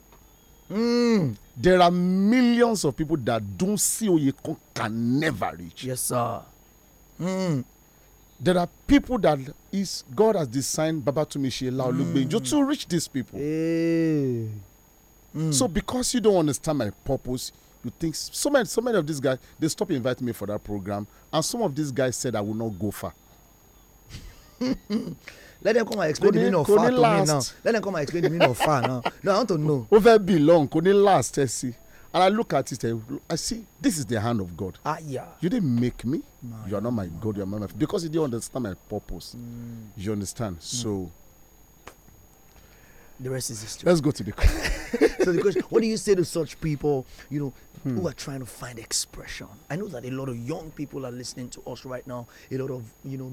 Speaker 6: there are millions of people that Dunsi Oyekun can never reach.
Speaker 5: Yes, sir.
Speaker 6: There are people that is God has designed Babatunde
Speaker 5: Mm.
Speaker 6: Laolugbejo to reach these people.
Speaker 5: Hey.
Speaker 6: So because you don't understand my purpose, you think so many so many of these guys they stop inviting me for that program, and some of these guys said I will not go far.
Speaker 5: Let them come and explain the
Speaker 6: Kone-
Speaker 5: meaning of far
Speaker 6: Kone
Speaker 5: to me now.
Speaker 6: last.
Speaker 5: Let them come and explain the meaning of far now. No, I want to know.
Speaker 6: Over belong, could they last? I see, and I look at it, I- I see this is the hand of God.
Speaker 5: Ah, yeah.
Speaker 6: You didn't make me. you are not my God. Hmm. You are not my because you didn't understand my purpose. You understand? So
Speaker 5: The rest is history.
Speaker 6: let's go to the (laughs) question.
Speaker 5: so the question what do you say to such people you know who are trying to find expression i know that a lot of young people are listening to us right now a lot of you know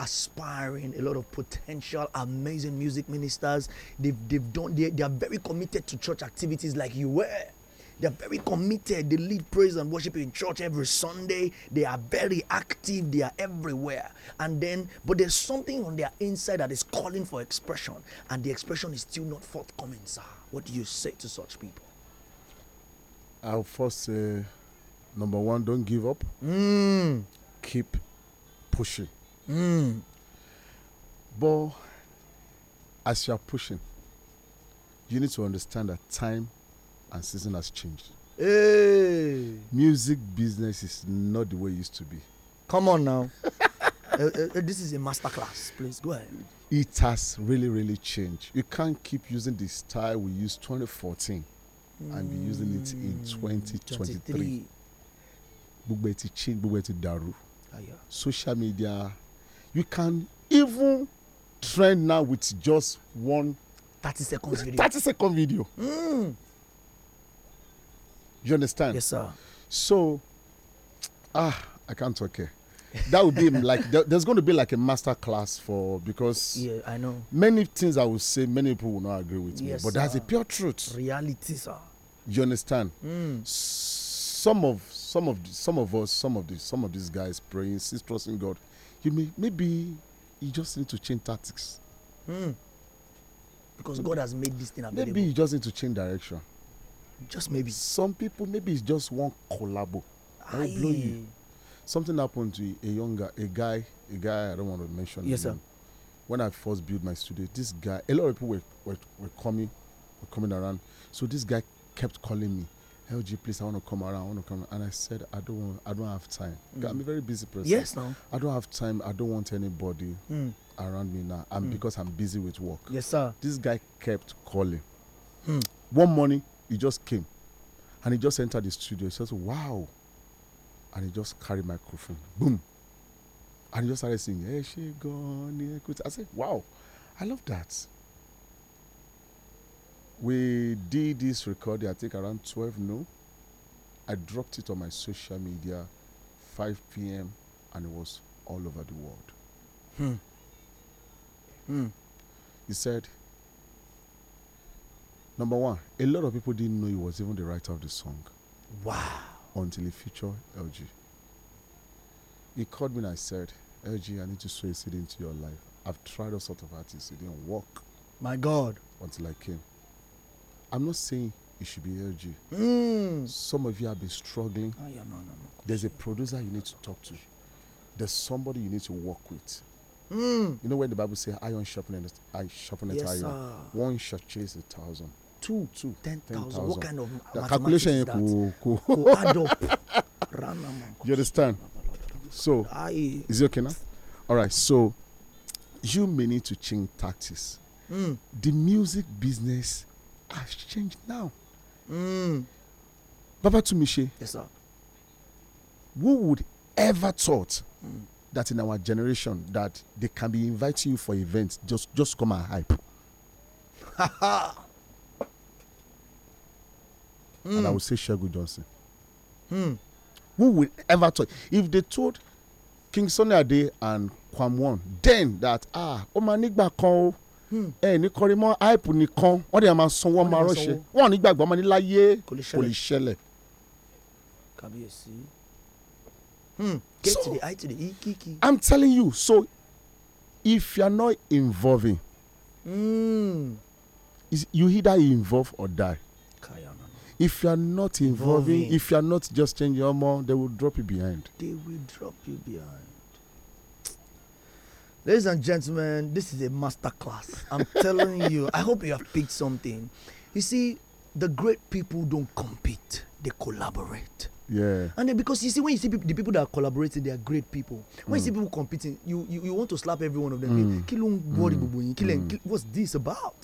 Speaker 5: aspiring a lot of potential amazing music ministers they've, they've done they, they are very committed to church activities like you were they're very committed. They lead praise and worship in church every Sunday. They are very active. They are everywhere. And then, but there's something on their inside that is calling for expression, and the expression is still not forthcoming, sir. What do you say to such people?
Speaker 6: I'll first say, number one, don't give up. Keep pushing. But as you are pushing, you need to understand that time and season has changed.
Speaker 5: Hey,
Speaker 6: Music business is not the way it used to be.
Speaker 5: come on now. (laughs) Uh, uh, uh, this is a masterclass. Please go ahead.
Speaker 6: It has really, really changed. You can't keep using the style we used 2014 and be using it in 2023. Gbogbo ẹ ti change, gbogbo ẹ ti dàrú.
Speaker 5: Ah, yeah.
Speaker 6: social media you can even trend now with just one
Speaker 5: 30 seconds video.
Speaker 6: thirty second video. you understand.
Speaker 5: Hmm. Yes, sir.
Speaker 6: so ah i can't talk here that would be (laughs) like there- there's going to be like a master class for because
Speaker 5: Yeah, I know.
Speaker 6: many things i will say many people will not agree with
Speaker 5: Yes,
Speaker 6: me but that's
Speaker 5: sir.
Speaker 6: a pure truth
Speaker 5: Reality, sir.
Speaker 6: you understand S- some of some of the- some of us some of the some of these guys praying still trusting god you may maybe you just need to change tactics
Speaker 5: Because God has made this thing available.
Speaker 6: maybe you just need to change direction
Speaker 5: Just maybe.
Speaker 6: some people maybe it's just one collabo that will blow
Speaker 5: Aye.
Speaker 6: you something happened to a younger a guy a guy i don't want to mention his
Speaker 5: Yes, sir.
Speaker 6: name. when i first built my studio this guy a lot of people were were, were coming were coming around so this guy kept calling me lg please i want to come around i want to come and i said i don't want i don't have time i'm a very busy person
Speaker 5: Mm. Yes, now.
Speaker 6: i don't have time i don't want anybody
Speaker 5: Mm.
Speaker 6: around me now and because i'm busy with work
Speaker 5: Yes, sir.
Speaker 6: this guy kept calling one morning he just came and he just entered the studio he says wow and he just carried microphone boom and he just started singing hey, she gone yeah, good." i said wow i love that we did this recording i think around 12 no i dropped it on my social media 5 p.m and it was all over the world he said number one a lot of people didn't know he was even the writer of the song
Speaker 5: Wow.
Speaker 6: until he featured lg he called me and i said lg i need to sow a seed into your life i've tried all sorts of artists it didn't work
Speaker 5: My God.
Speaker 6: until i came i'm not saying it should be lg
Speaker 5: Mm.
Speaker 6: some of you have been struggling
Speaker 5: Oh, yeah, no, no, no.
Speaker 6: there's a producer you need to talk to there's somebody you need to work with you know when the bible says iron sharpeneth iron sharpeneth
Speaker 5: Hmm. Yes,
Speaker 6: iron
Speaker 5: sir.
Speaker 6: one shall chase a thousand
Speaker 5: Two,
Speaker 6: two
Speaker 5: ten
Speaker 6: ten
Speaker 5: thousand. What kind
Speaker 6: thousand.
Speaker 5: of
Speaker 6: the
Speaker 5: mathematics
Speaker 6: calculation
Speaker 5: is
Speaker 6: yẹn
Speaker 5: that?
Speaker 6: kò kò
Speaker 5: Go add
Speaker 6: (laughs)
Speaker 5: up. Run among.
Speaker 6: you understand so
Speaker 5: Aye.
Speaker 6: is it okay now all right so you may need to change tactics
Speaker 5: Hmm.
Speaker 6: the music business has changed now
Speaker 5: Hmm.
Speaker 6: babatunde ṣe
Speaker 5: Yes, sir.
Speaker 6: who would ever thought that in our generation that they can be inviting you for events just just come and hype (laughs) and i would say shegun johnson
Speaker 5: Hmm.
Speaker 6: who would ever thought if they told king sunny ade and kwamwon then that ah ó máa nígbà kan o ẹ ní kọrin mọ hype nìkan wọn dẹ̀ máa sanwó
Speaker 5: Hmm. Wọ́n dẹ̀
Speaker 6: máa
Speaker 5: máa
Speaker 6: rọ́ṣẹ́
Speaker 5: sanwó.
Speaker 6: wọn ò ní gbàgbọ́ máa ní láyé
Speaker 5: Kò lè
Speaker 6: kò lè ṣẹlẹ̀
Speaker 5: Kabiyesi. Hmm. K
Speaker 6: So-
Speaker 5: to the I to the E, Kiki.
Speaker 6: i'm telling you so if you are not involving
Speaker 5: Mm.
Speaker 6: is you either involve or die
Speaker 5: Kaya, man.
Speaker 6: if you are not involving,
Speaker 5: Involving.
Speaker 6: if you are not just changing your mom they will drop you behind
Speaker 5: They will drop you behind. Ladies and gentlemen, this is a masterclass. I'm
Speaker 6: (laughs)
Speaker 5: telling you. I hope you have picked something. You see, the great people don't compete; they collaborate.
Speaker 6: yeah
Speaker 5: And then because you see, when you see peop the people that are collaborating, they are great people. When you see people competing, you, you, you want to slap every one of them. Mm. Kill mm. kill mm. Mm-hmm. kill, what's this about?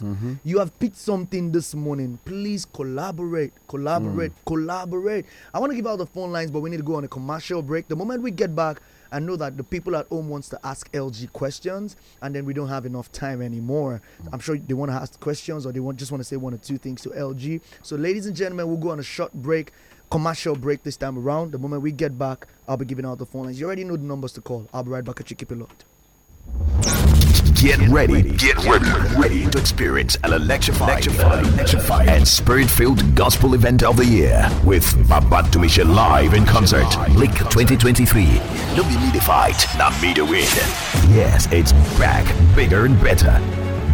Speaker 5: You have picked something this morning. Please collaborate, collaborate, collaborate. I want to give out the phone lines, but we need to go on a commercial break. The moment we get back, I know that the people at home wants to ask LG questions, and then we don't have enough time anymore. I'm sure they want to ask questions, or they want just want to say one or two things to LG. So, ladies and gentlemen, we'll go on a short break commercial break this time around. The moment we get back, I'll be giving out the phone lines. You already know the numbers to call. I'll be right back at you. Keep it locked.
Speaker 1: Get ready, get ready, ready to experience an electrifying, electrifying, electrifying and spirit-filled gospel event of the year with Babatumisha live in concert, Lick 2023. No be me the fight, not me the win. Yes, it's back, bigger and better.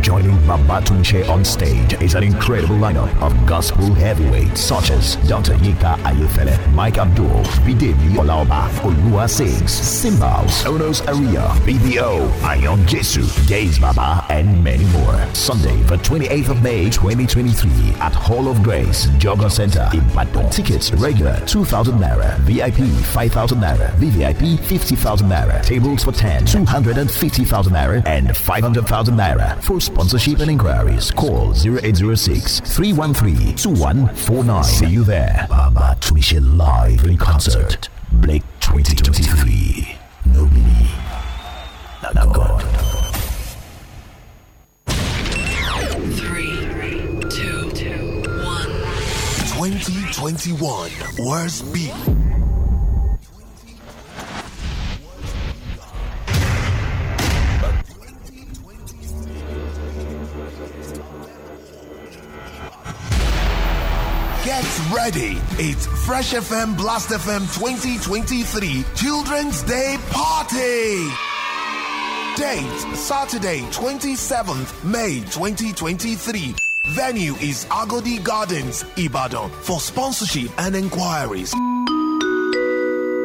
Speaker 1: Joining Babatunche on stage is an incredible lineup of gospel heavyweights such as Dr. Yika Ayefele, Mike Abdul, Bidemi Olaoba, Olua Sings, Simbals, Onos Aria, BBO, Ion Jesu, Gaze Baba, and many more. Sunday, the 28th of May 2023 at Hall of Grace, Jogger Center, Ibadan. Tickets regular 2,000 Naira, VIP 5,000 Naira, VVIP 50,000 Naira, tables for 10, 250,000 Naira, and 500,000 Naira. For sponsorship and inquiries, call 0806 313 2149. See you there. Baba Tumishe live in concert. Blake 2023. Nobody. Not God.
Speaker 8: Three, two, two, one.
Speaker 2: 2021 Worst Beat. Get ready. It's Fresh FM Blast FM 2023 Children's Day Party. Date Saturday, 27th May 2023. Venue is Agodi Gardens, Ibadan. For sponsorship and inquiries,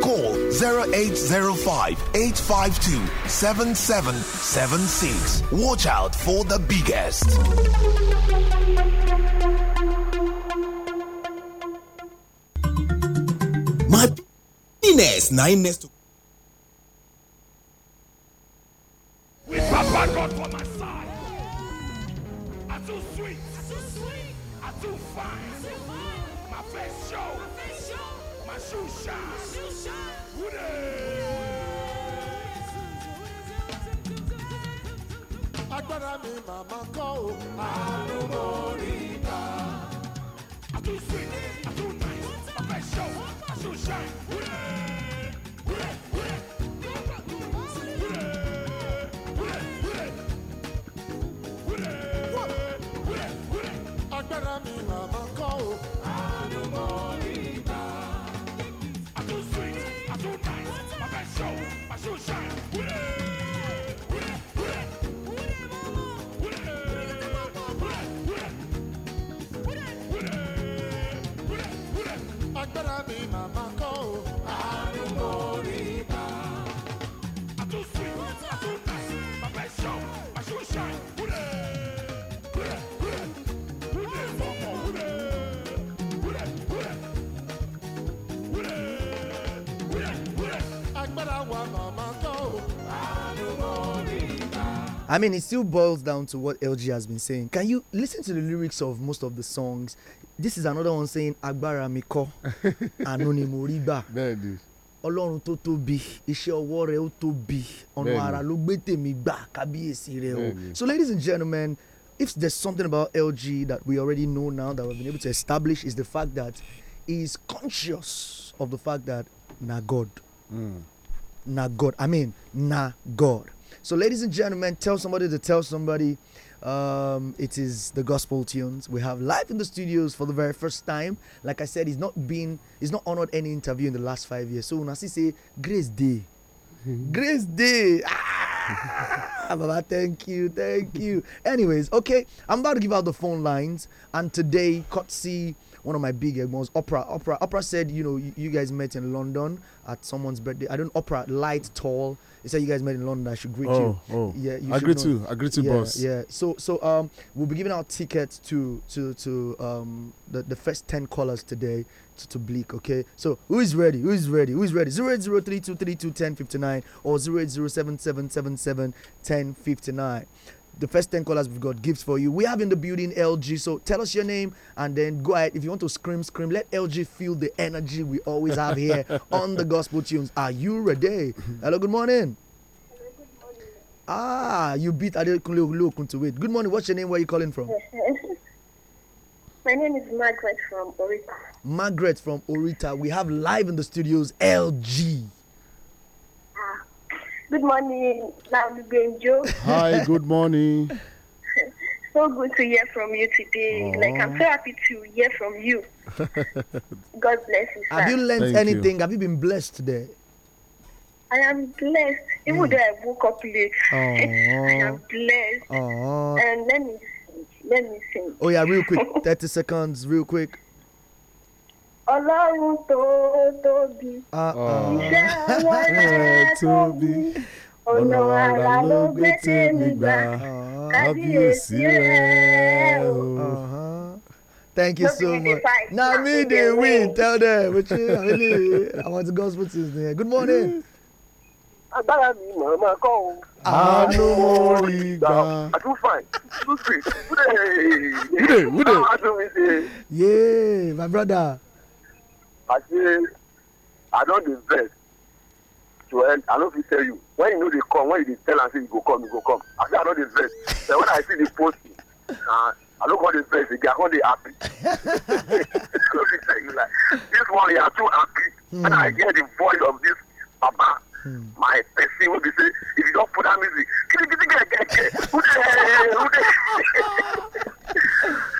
Speaker 2: call 0805 852 7776. Watch out for the biggest.
Speaker 9: my penis na im next to
Speaker 3: With Papa God for my side. I'm too sweet. I'm too sweet. I'm too fine. My face show. My face show. My shoe shine. My shoe shine. Who
Speaker 4: agbára mi màmá kọ́ o. àánú mo rí gbà.
Speaker 3: I'm too sweet. I'm too nice. My face show. My shoe shine. Who
Speaker 4: agbára mi màmá kọ́ o. àánú mo rí gbà.
Speaker 3: I'm too sweet. I'm too nice. My face show. My shoe shine. Who
Speaker 4: agbára mi màmá kọ́ o. àánú mo rí gbà.
Speaker 3: I'm too sweet. I'm too nice. My face show. My shoe shine. Who
Speaker 4: agbára wa màmá kọ́ o.
Speaker 5: I mean, it still boils down to what LG has been saying. Can you listen to the lyrics of most of the songs? This is another one saying agbára mi kọ́ àánú ni mo rí gbà
Speaker 6: bẹ́ẹ̀ ni
Speaker 5: ọlọ́run tó tóbi iṣẹ́ ọwọ́ rẹ̀ ó tóbi ọ̀nà
Speaker 6: Bẹ́ẹ̀ni.
Speaker 5: ara ló gbé tèmi gbà kábíyèsí rẹ̀ o.
Speaker 6: Bẹ́ẹ̀ni.
Speaker 5: So ladies and gentlemen, if there's something about LG that we already know now that we've been able to establish is the fact that he is conscious of the fact that na God. Na God. I mean, na God. So, ladies and gentlemen, tell somebody to tell somebody. Um, it is the gospel tunes. We have live in the studios for the very first time. Like I said, he's not been, he's not honored any interview in the last five years. So, Nasi say Grace Day, Grace Day. Ah! (laughs) Ah, Baba, thank you, thank you. Anyways, okay, I'm about to give out the phone lines, and today, courtesy one of my big ones, Opera. Opera. Opera said, you know, you, you guys met in London at someone's birthday. I don't. Opera, light, tall. He said you guys met in London. I should greet you.
Speaker 6: Oh, oh.
Speaker 5: Yeah, you
Speaker 6: I
Speaker 5: should
Speaker 6: greet
Speaker 5: know.
Speaker 6: you. I greet you,
Speaker 5: yeah,
Speaker 6: boss.
Speaker 5: Yeah. So, so um, we'll be giving out tickets to to to um the, the first ten callers today to, to Bleak. Okay. So who is ready? Who is ready? Who is ready? Zero eight zero three two three two ten fifty nine or zero eight zero seven seven seven seven ten fifty nine. The first 10 callers we've got gifts for you. We have in the building LG, so tell us your name and then go ahead. If you want to scream, scream, let LG feel the energy we always have here on the gospel tunes. Are you ready? Hello, good morning. Ah, you beat Adekunle Olokun to it. Good morning. What's your name? Where are you calling from?
Speaker 10: My name is Margaret from Orita.
Speaker 5: Margaret from Orita. We have live in the studios LG.
Speaker 10: Good morning, Loud Benjo.
Speaker 6: Hi, good morning.
Speaker 10: so good to hear from you today.
Speaker 6: Aw.
Speaker 10: Like, I'm so happy to hear from (laughs) you. God bless you, sir.
Speaker 5: Have you learned
Speaker 6: Thank you.
Speaker 5: anything? Have you been blessed today?
Speaker 10: I am blessed. Even though I woke up late, (laughs) I
Speaker 5: Aw.
Speaker 10: am blessed.
Speaker 5: Oh.
Speaker 10: And let me sing. Let me sing.
Speaker 5: Oh yeah, real quick. 30 seconds, real quick.
Speaker 10: Ọlọ́run tó tóbi, (laughs)
Speaker 5: Uh, uh.
Speaker 6: Ah.
Speaker 10: iṣẹ́ ọwọ́ rẹ̀ tóbi, ọ̀nà àrà ló gbé tèmi gbà, kábíyèsí rẹ̀ o.
Speaker 5: Uh-huh. Thank you
Speaker 10: No be
Speaker 5: so
Speaker 10: me dey
Speaker 5: much.
Speaker 10: fight,
Speaker 5: Now
Speaker 10: na
Speaker 5: me
Speaker 10: me
Speaker 5: they
Speaker 10: dey
Speaker 5: win.
Speaker 10: win.
Speaker 5: Tell them. Which I really, I want the gospel to there. Good morning.
Speaker 11: agbára mi mọ̀ ọ́ máa kọ́ o.
Speaker 6: Àánú orí gbà.
Speaker 11: I do fine. Do great. Wúdè.
Speaker 6: Wúdè, wúdè.
Speaker 11: Àwọn adùn mi ṣe.
Speaker 5: Yeah, my brother.
Speaker 11: Àṣé I don dey vex to end. I no fit tell you. When you no dey come, when you dey tell am say you go come, you go come. I say I don dey vex. But when I see the post, uh, I no come dey vex again. I come dey happy. (laughs) I no fit tell you like this one, you are too happy. When I hear the voice of this baba. My person will be say, if you don't put that music, get get get get get. Who the who the?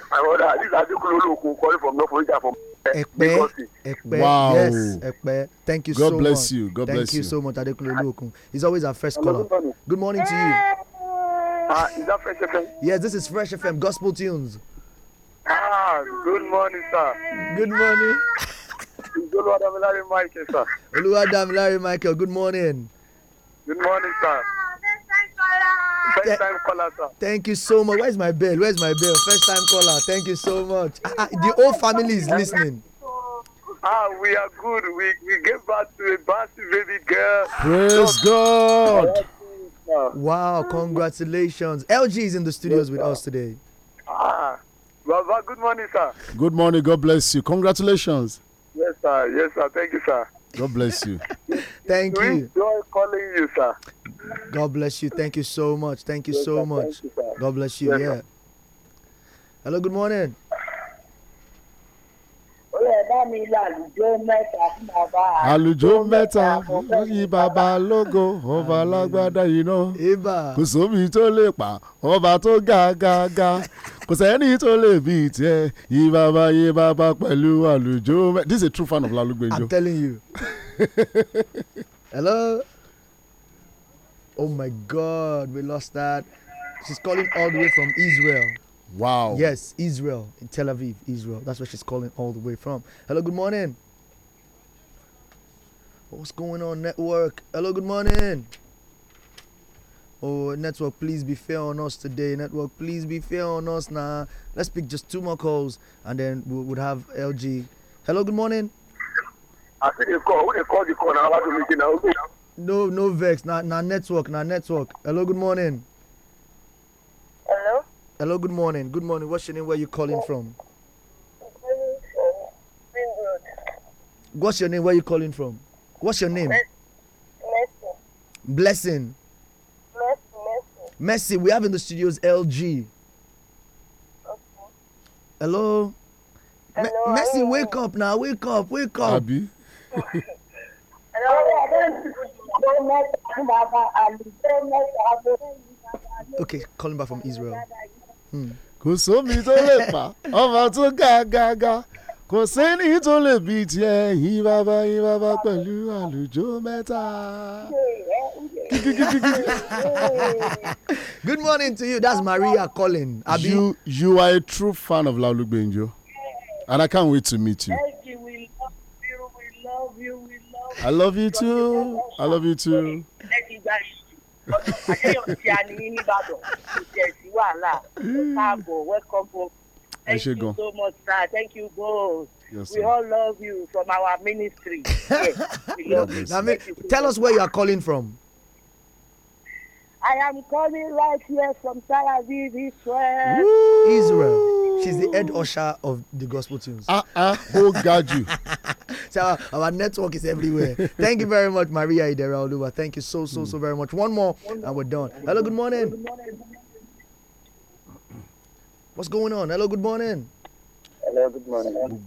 Speaker 11: (laughs) My brother, this is Adekunle Olokun calling from North Florida from
Speaker 5: Ekpe,
Speaker 11: Lagos State.
Speaker 5: Ekpe,
Speaker 6: Wow.
Speaker 5: yes, Ekpe. Thank you
Speaker 6: God
Speaker 5: so
Speaker 6: bless
Speaker 5: much.
Speaker 6: you. God
Speaker 5: Thank
Speaker 6: bless
Speaker 5: you
Speaker 6: you.
Speaker 5: so much, Adekunle Olokun. He's always our first
Speaker 11: Ah. Hello,
Speaker 5: caller.
Speaker 11: good morning.
Speaker 5: Good morning to you.
Speaker 11: Ah, is that Fresh FM?
Speaker 5: Yes, this is Fresh FM Gospel Tunes.
Speaker 11: Ah, good morning, sir.
Speaker 5: Good morning.
Speaker 11: It's Olu Adamilare Mike, sir.
Speaker 5: Oluwadam Larry Michael. Good morning.
Speaker 11: Good morning, sir. First time caller, sir.
Speaker 5: Thank you so much. Where's my bell? Where's my bell? First time caller. Thank you so much. Ah, ah, the whole family is listening.
Speaker 11: Ah, we are good. We we gave birth to a bouncy baby girl.
Speaker 6: Praise God.
Speaker 5: Wow, congratulations. LG is in the studios with us today.
Speaker 11: Ah, Baba, good morning, sir.
Speaker 6: Good morning. God bless you. Congratulations.
Speaker 11: Yes, sir. Yes, sir. Thank you, sir.
Speaker 6: God bless you.
Speaker 5: Thank
Speaker 11: We
Speaker 5: you.
Speaker 11: enjoy calling you, sir.
Speaker 5: God bless you. Thank you so much. Thank you so
Speaker 11: sir.
Speaker 5: much.
Speaker 11: Thank you, sir.
Speaker 5: God bless you.
Speaker 11: Yes,
Speaker 5: Yeah.
Speaker 11: sir.
Speaker 5: Hello, good morning.
Speaker 10: ó yẹ bá mi lálùjọ mẹ́ta fún bàbá
Speaker 6: àlùjọ mẹ́ta lóyìn bàbá lógo ọba alágbádá iná
Speaker 5: Eba.
Speaker 6: kò sómi tó lè pa ọba tó ga ga ga kò sẹ́ni tó lè bí tiẹ̀ yí bàbá yí bàbá pẹ̀lú àlùjọ mẹ́ta this is a true fan of
Speaker 5: I'm
Speaker 6: lalugbejo.
Speaker 5: telling you. Hello. Oh my God, we lost that. She's calling all the way from Israel.
Speaker 6: wow.
Speaker 5: Yes, Israel, in Tel Aviv, Israel. That's where she's calling all the way from. Hello, good morning. What's going on, network? Hello, good morning. Oh, network, please be fair on us today. Network, please be fair on us now. Let's pick just two more calls and then we would have LG. Hello, good morning.
Speaker 11: I see they call. Who they call the call now? What do you now?
Speaker 5: No, no vex. Now, now network, now network. Hello, good morning.
Speaker 10: hello
Speaker 5: Hello, good morning. Good morning. What's your name? Where you calling from?
Speaker 10: green road
Speaker 5: What's your name? Where you calling from? What's your name?
Speaker 10: mercy
Speaker 5: Blessing.
Speaker 10: mercy mercy
Speaker 5: Messi, we have in the studios LG. Hello. Me-
Speaker 10: Hello, how are
Speaker 5: Messi,
Speaker 10: you?
Speaker 5: wake up now! Wake up! Wake up!
Speaker 6: àbí
Speaker 10: hello ó yẹ bá mi lálùjọ mẹ́ta fún bàbá àlùjọ mẹ́ta fún bàbá
Speaker 5: Okay, calling back from Israel.
Speaker 6: kò sómi tó lè pa ọba tó ga ga ga kò sẹ́ni tó lè bí tiẹ̀ yí bàbá yí bàbá pẹ̀lú àlùjọ mẹ́ta.
Speaker 10: ṣe ẹ ń ṣe
Speaker 5: Good morning to you. That's Maria calling. Abi,
Speaker 6: You you are a true fan of Laulu Benjo, and I can't wait to meet you.
Speaker 10: Eji, we love you, we love you, we love you.
Speaker 6: I love you too. I love you too.
Speaker 10: Eji gba ṣì. Àjẹyọ̀ ti a ní yín nìbàdàn. Kò tiẹ̀ sí wàhálà. Káàbọ̀, welcome home.
Speaker 6: Ẹ
Speaker 10: Thank
Speaker 6: ṣé
Speaker 10: you
Speaker 6: gan.
Speaker 10: so much, sir. Thank you both.
Speaker 6: Yes,
Speaker 10: we
Speaker 6: sir.
Speaker 10: all love you from our
Speaker 6: (laughs)
Speaker 10: ministry. Yes, we love you.
Speaker 5: Now, me- tell us where you are calling from.
Speaker 10: I am coming right here from Tel Aviv, Israel.
Speaker 5: Israel. She's the head usher of the gospel tunes.
Speaker 6: Ah ah, oh God,
Speaker 5: (laughs)
Speaker 6: you.
Speaker 5: So our, our network is everywhere. Thank you very much, Maria Idera Oluwa. Thank you so so so very much. One more and we're done. Hello, good morning. What's going on? Hello, good morning.
Speaker 11: Hello, good morning.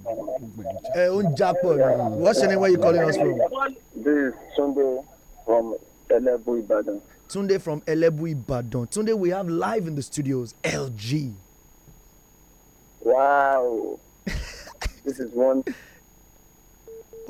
Speaker 5: Eh, own jackpot. What's your name? Where you calling us from?
Speaker 11: This is Sunday from Elebu Ibadan.
Speaker 5: Tunde from Elebu Ibadan. Tunde, we have live in the studios LG.
Speaker 11: Wow. (laughs) this is one.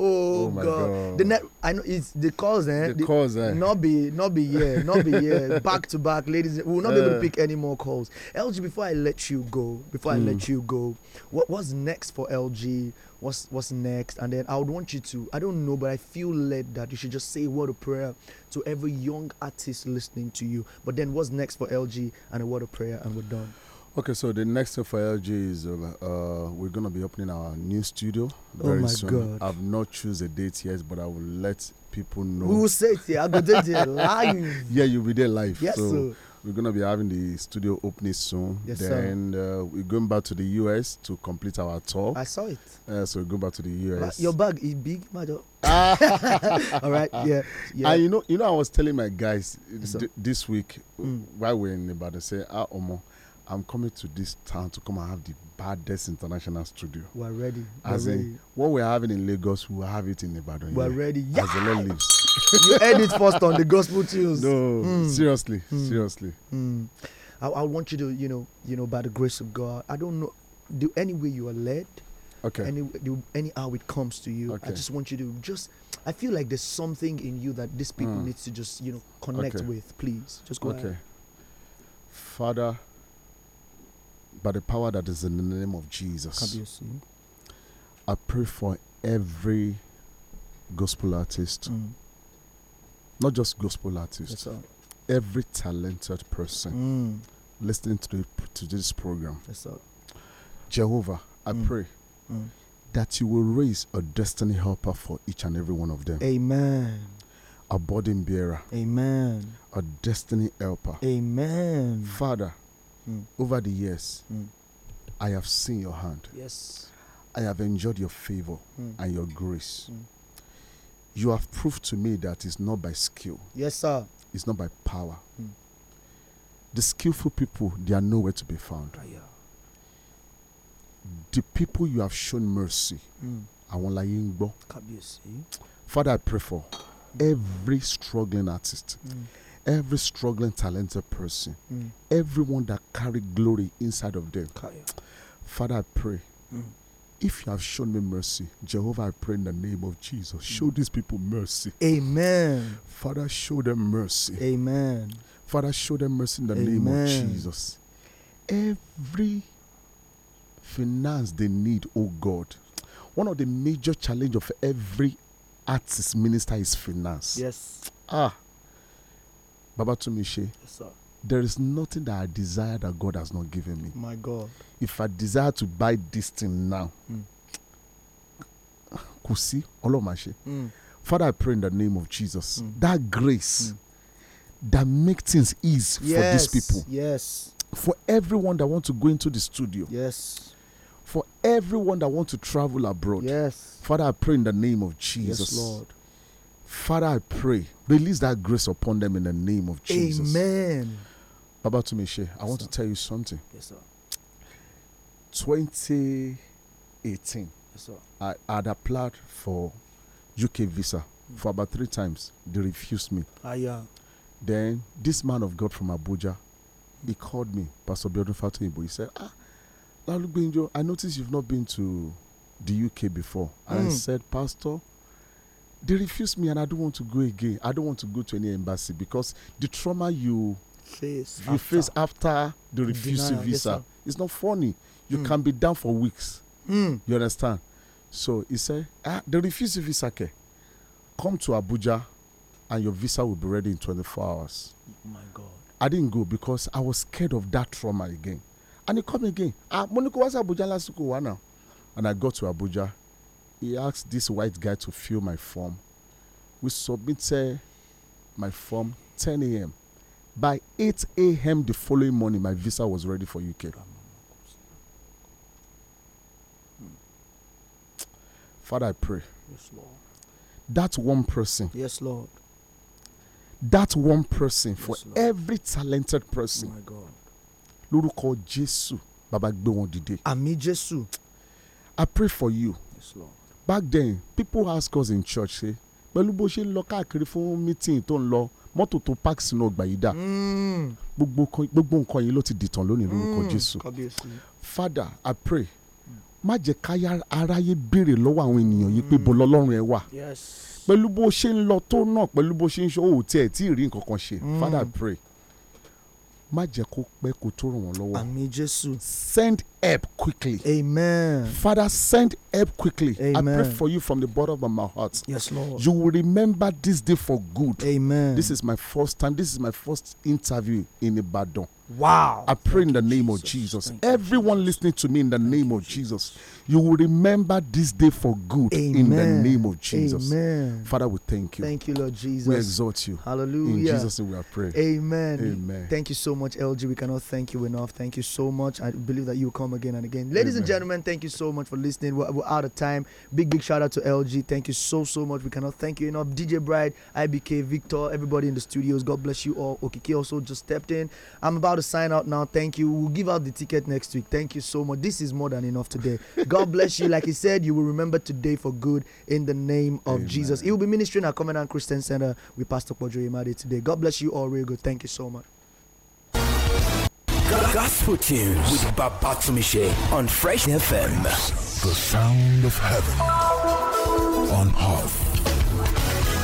Speaker 5: Oh,
Speaker 6: Oh my
Speaker 5: God.
Speaker 6: God.
Speaker 5: The net I know it's the calls, eh?
Speaker 6: The calls, eh?
Speaker 5: Not be not be here, not be
Speaker 6: (laughs)
Speaker 5: here. back to back, ladies. We will not be able to
Speaker 6: Uh.
Speaker 5: pick any more calls. LG, before I let you go, before I
Speaker 6: Mm.
Speaker 5: let you go, what what's next for LG? What's what's next? And then I would want you to, I don't know, but I feel led that you should just say a word of prayer to every young artist listening to you. But then what's next for LG and a word of prayer and we're done.
Speaker 6: Okay, so the next thing for LG is uh, uh, we're gonna be opening our new studio
Speaker 5: Oh
Speaker 6: very
Speaker 5: my
Speaker 6: soon.
Speaker 5: God.
Speaker 6: I've not choose a date yet, but I will let people know.
Speaker 5: We will say it here. I go there there (laughs) live.
Speaker 6: yeah, you'll be there live.
Speaker 5: Yes,
Speaker 6: so
Speaker 5: sir.
Speaker 6: we're gonna be having the studio opening soon.
Speaker 5: Yes, sir.
Speaker 6: then Uh, we're going back to the US to complete our tour.
Speaker 5: I saw it.
Speaker 6: Uh, so we're going back to the
Speaker 5: Ma-
Speaker 6: US.
Speaker 5: Your bag is big,
Speaker 6: (laughs)
Speaker 5: Major. (laughs) All right, yeah, yeah.
Speaker 6: And you know, you know, I was telling my guys
Speaker 5: sir. Mm.
Speaker 6: th- this week while we're in Ibadan, say, ah, Omo, I'm coming to this town to come and have the baddest international studio.
Speaker 5: We're ready. We're
Speaker 6: As
Speaker 5: ready.
Speaker 6: in, what we're having in Lagos, we'll have it in Ibadan.
Speaker 5: We're
Speaker 6: here.
Speaker 5: ready.
Speaker 6: As the Lord lives.
Speaker 5: you heard it first on the gospel tunes.
Speaker 6: No, seriously, seriously.
Speaker 5: Mm. I, I want you to, you know, you know, by the grace of God. I don't know, do any way you are led,
Speaker 6: Okay.
Speaker 5: any do any how it comes to you. I
Speaker 6: Okay.
Speaker 5: just want you to just. I feel like there's something in you that these people
Speaker 6: Mm.
Speaker 5: need to just, you know, connect
Speaker 6: Okay.
Speaker 5: with. Please, just go.
Speaker 6: okay.
Speaker 5: ahead.
Speaker 6: Father, by the power that is in the name of Jesus,
Speaker 5: Can't be seen.
Speaker 6: I pray for every gospel artist,
Speaker 5: Mm.
Speaker 6: not just gospel artist,
Speaker 5: Yes, sir.
Speaker 6: every talented person
Speaker 5: Mm.
Speaker 6: listening to, the, to this program.
Speaker 5: Yes, sir.
Speaker 6: Jehovah, I
Speaker 5: Mm.
Speaker 6: pray
Speaker 5: Mm.
Speaker 6: that you will raise a destiny helper for each and every one of them,
Speaker 5: Eh. Amen.
Speaker 6: a burden bearer,
Speaker 5: Amen.
Speaker 6: a destiny helper.
Speaker 5: Amen.
Speaker 6: Father,
Speaker 5: Eh. Mm.
Speaker 6: over the years,
Speaker 5: Mm.
Speaker 6: I have seen your hand.
Speaker 5: Yes.
Speaker 6: I have enjoyed your favor
Speaker 5: Mm.
Speaker 6: and your grace.
Speaker 5: Mm.
Speaker 6: You have proved to me that it's not by skill,
Speaker 5: Yes, sir.
Speaker 6: it's not by power.
Speaker 5: Mm.
Speaker 6: The skillful people, they are nowhere to be found. The people you have shown mercy,
Speaker 5: Mm.
Speaker 6: àwọn láyé ń gbọ́.
Speaker 5: Can't be seen.
Speaker 6: Father, I pray for every struggling artist,
Speaker 5: Mm.
Speaker 6: every struggling talented person,
Speaker 5: Mm.
Speaker 6: everyone that carry glory inside of them.
Speaker 5: Kaya.
Speaker 6: Father, I pray.
Speaker 5: Mm.
Speaker 6: If you have shown me mercy, Jehovah, I pray in the name of Jesus,
Speaker 5: Mm.
Speaker 6: show these people mercy.
Speaker 5: Amen.
Speaker 6: Father, show them mercy.
Speaker 5: Amen.
Speaker 6: Father, show them mercy in the name of
Speaker 5: Amen.
Speaker 6: Jesus. Every finance they need, oh God. One of the major challenge of every artist minister is finance.
Speaker 5: Yes.
Speaker 6: Ah, Baba Tumishe,
Speaker 5: Yes, sir.
Speaker 6: there is nothing that I desire that God has not given me.
Speaker 5: My God.
Speaker 6: If I desire to buy this thing now,
Speaker 5: Mm.
Speaker 6: kò sí Ọlọ́run máa ṣe.
Speaker 5: Mm.
Speaker 6: Father, I pray in the name of Jesus
Speaker 5: Mm.
Speaker 6: that grace that make things ease
Speaker 5: Yes.
Speaker 6: for these people,
Speaker 5: Yes.
Speaker 6: for everyone that want to go into the studio,
Speaker 5: Yes.
Speaker 6: for everyone that want to travel abroad.
Speaker 5: Yes.
Speaker 6: Father, I pray in the name of Jesus.
Speaker 5: Yes, Lord.
Speaker 6: Father, I pray release that grace upon them in the name of Jesus.
Speaker 5: Amen.
Speaker 6: Baba Tumishe, I want
Speaker 5: Sir.
Speaker 6: to tell you something.
Speaker 5: Yes, sir.
Speaker 6: 2018,
Speaker 5: Yes, sir.
Speaker 6: I had applied for UK visa for about three times. They refused me.
Speaker 5: Aya.
Speaker 6: Then this man of God from Abuja, he called me, Pastor Biodun Fatunibo. He said, Ah, Lalu Benjo, I noticed you've not been to the UK before. And I
Speaker 5: Mm.
Speaker 6: said, Pastor, they refused me and i don't want to go again i don't want to go to any embassy because the trauma you
Speaker 5: face
Speaker 6: you face after the refusal
Speaker 5: Denial, yes,
Speaker 6: visa
Speaker 5: sir.
Speaker 6: it's not funny you
Speaker 5: Mm.
Speaker 6: can be down for weeks
Speaker 5: Mm.
Speaker 6: you understand so he said ah the refusal visa ke come to abuja and your visa will be ready in twenty-four hours
Speaker 5: my god
Speaker 6: i didn't go because i was scared of that trauma again and he come again ah monica was abuja last week wa now and i got to abuja he asked this white guy to fill my form we submitted my form 10 a.m by 8 a.m the following morning my visa was ready for uk father i pray
Speaker 5: yes lord
Speaker 6: that one person
Speaker 5: yes lord
Speaker 6: that one person for
Speaker 5: Yes, Lord.
Speaker 6: every talented person
Speaker 5: my god
Speaker 6: lórúkọ jésù bàbá gbé wọn dìde.
Speaker 5: àmì jésù.
Speaker 6: i pray for you.
Speaker 5: yes lord
Speaker 6: back then people ask us in church say pẹ̀lú bó ṣe ń lọ káàkiri fún meeting tó ń lọ mọ́tò tó park sínú ọgbà yìí dà gbogbo nǹkan- gbogbo nǹkan yìí ló ti dìtàn lónìí lórúkọ jésù.
Speaker 5: kábíyèsí.
Speaker 6: father i pray má jẹ́ káyà aráyé béèrè lọ́wọ́ àwọn ènìyàn yìí pé bó lọ́lọ́run ẹ wà
Speaker 5: yes
Speaker 6: pẹ̀lú bó ṣe ń lọ tó náà pẹ̀lú bó ṣe ń ṣe òòtí ẹ̀ tí ì rí nǹkan kan ṣe
Speaker 5: Mm.
Speaker 6: father i pray má jẹ́ kó pẹ́ kó tó ràn wọ́n lọ́wọ́
Speaker 5: àmì jésù.
Speaker 6: send help quickly.
Speaker 5: amen.
Speaker 6: Father, send help quickly. I pray
Speaker 5: Amen.
Speaker 6: for you from the bottom of my heart.
Speaker 5: yes lord.
Speaker 6: You will remember this day for good.
Speaker 5: amen.
Speaker 6: This is my first time. This is my first interview in Ibadan.
Speaker 5: wow.
Speaker 6: I pray in the name of Jesus. Everyone listening to me in the name of Jesus, you will remember this day for good in the
Speaker 5: Amen.
Speaker 6: name of Jesus.
Speaker 5: Amen.
Speaker 6: Father, we thank you.
Speaker 5: Thank you, Lord Jesus.
Speaker 6: we exhort you.
Speaker 5: Hallelujah.
Speaker 6: In Jesus' name we are praying.
Speaker 5: Amen.
Speaker 6: Amen.
Speaker 5: Thank you so much, LG. We cannot thank you enough. Thank you so much. I believe that you will come again and again. Ladies and
Speaker 6: Amen.
Speaker 5: gentlemen, thank you so much for listening. We're, we're out of time. Big, big shout out to LG. Thank you so, so much. We cannot thank you enough. DJ Bride, IBK, Victor, everybody in the studios. God bless you all. Okike also just stepped in. I'm about to sign out now. Thank you. We'll give out the ticket next week. Thank you so much. This is more than enough today. God bless you. Like he said, you will remember today for good in the name of Jesus. He will be ministering at Covenant Christian Center with Pastor Podre Imade today. God bless you all real good. Thank you so much.
Speaker 12: Gospel tunes with Babatumishe on Fresh FM.
Speaker 13: The sound of heaven on earth.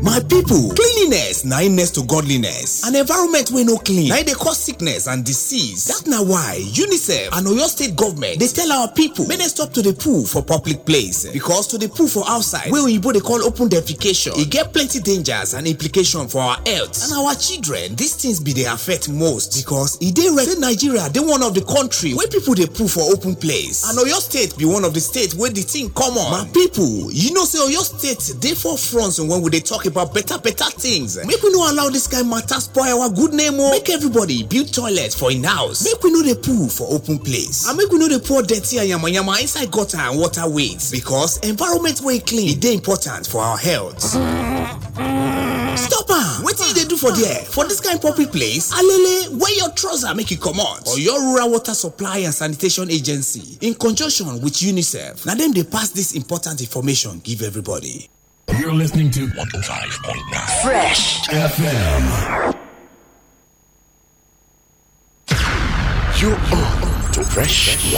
Speaker 9: My people, cleanliness na im next to godliness. An environment wey no clean na im dey cause sickness and disease. That na why UNICEF and Oyo state government dey tell our people make dem stop to dey poo for public place because to dey poo for outside wey oyibo dey call open defecation e get plenty dangers and implications for our health and our children. These things be dey affect most because e dey rare say Nigeria dey one of the country wey people dey poo for open place and Oyo state be one of the states wey the thing common. My people, you know say Oyo state dey for front when we dey talk about better better things. Make we no allow this kind matter spoil our good name o. Make everybody build toilet for in house. Make we no dey poo for open place. And make we no dey pour dirty and yamayama inside gutter and waterways because environment wey clean e dey important for our health. stop am wetin you dey do for there for dis kind public place alele wear your trouser make you comot oyo rural water supply and sanitation agency in conjunction with unicef na dem dey pass dis important information give everybody.
Speaker 13: You're listening to 105.9
Speaker 8: Fresh.
Speaker 13: FM. You're on to Fresh 105.9.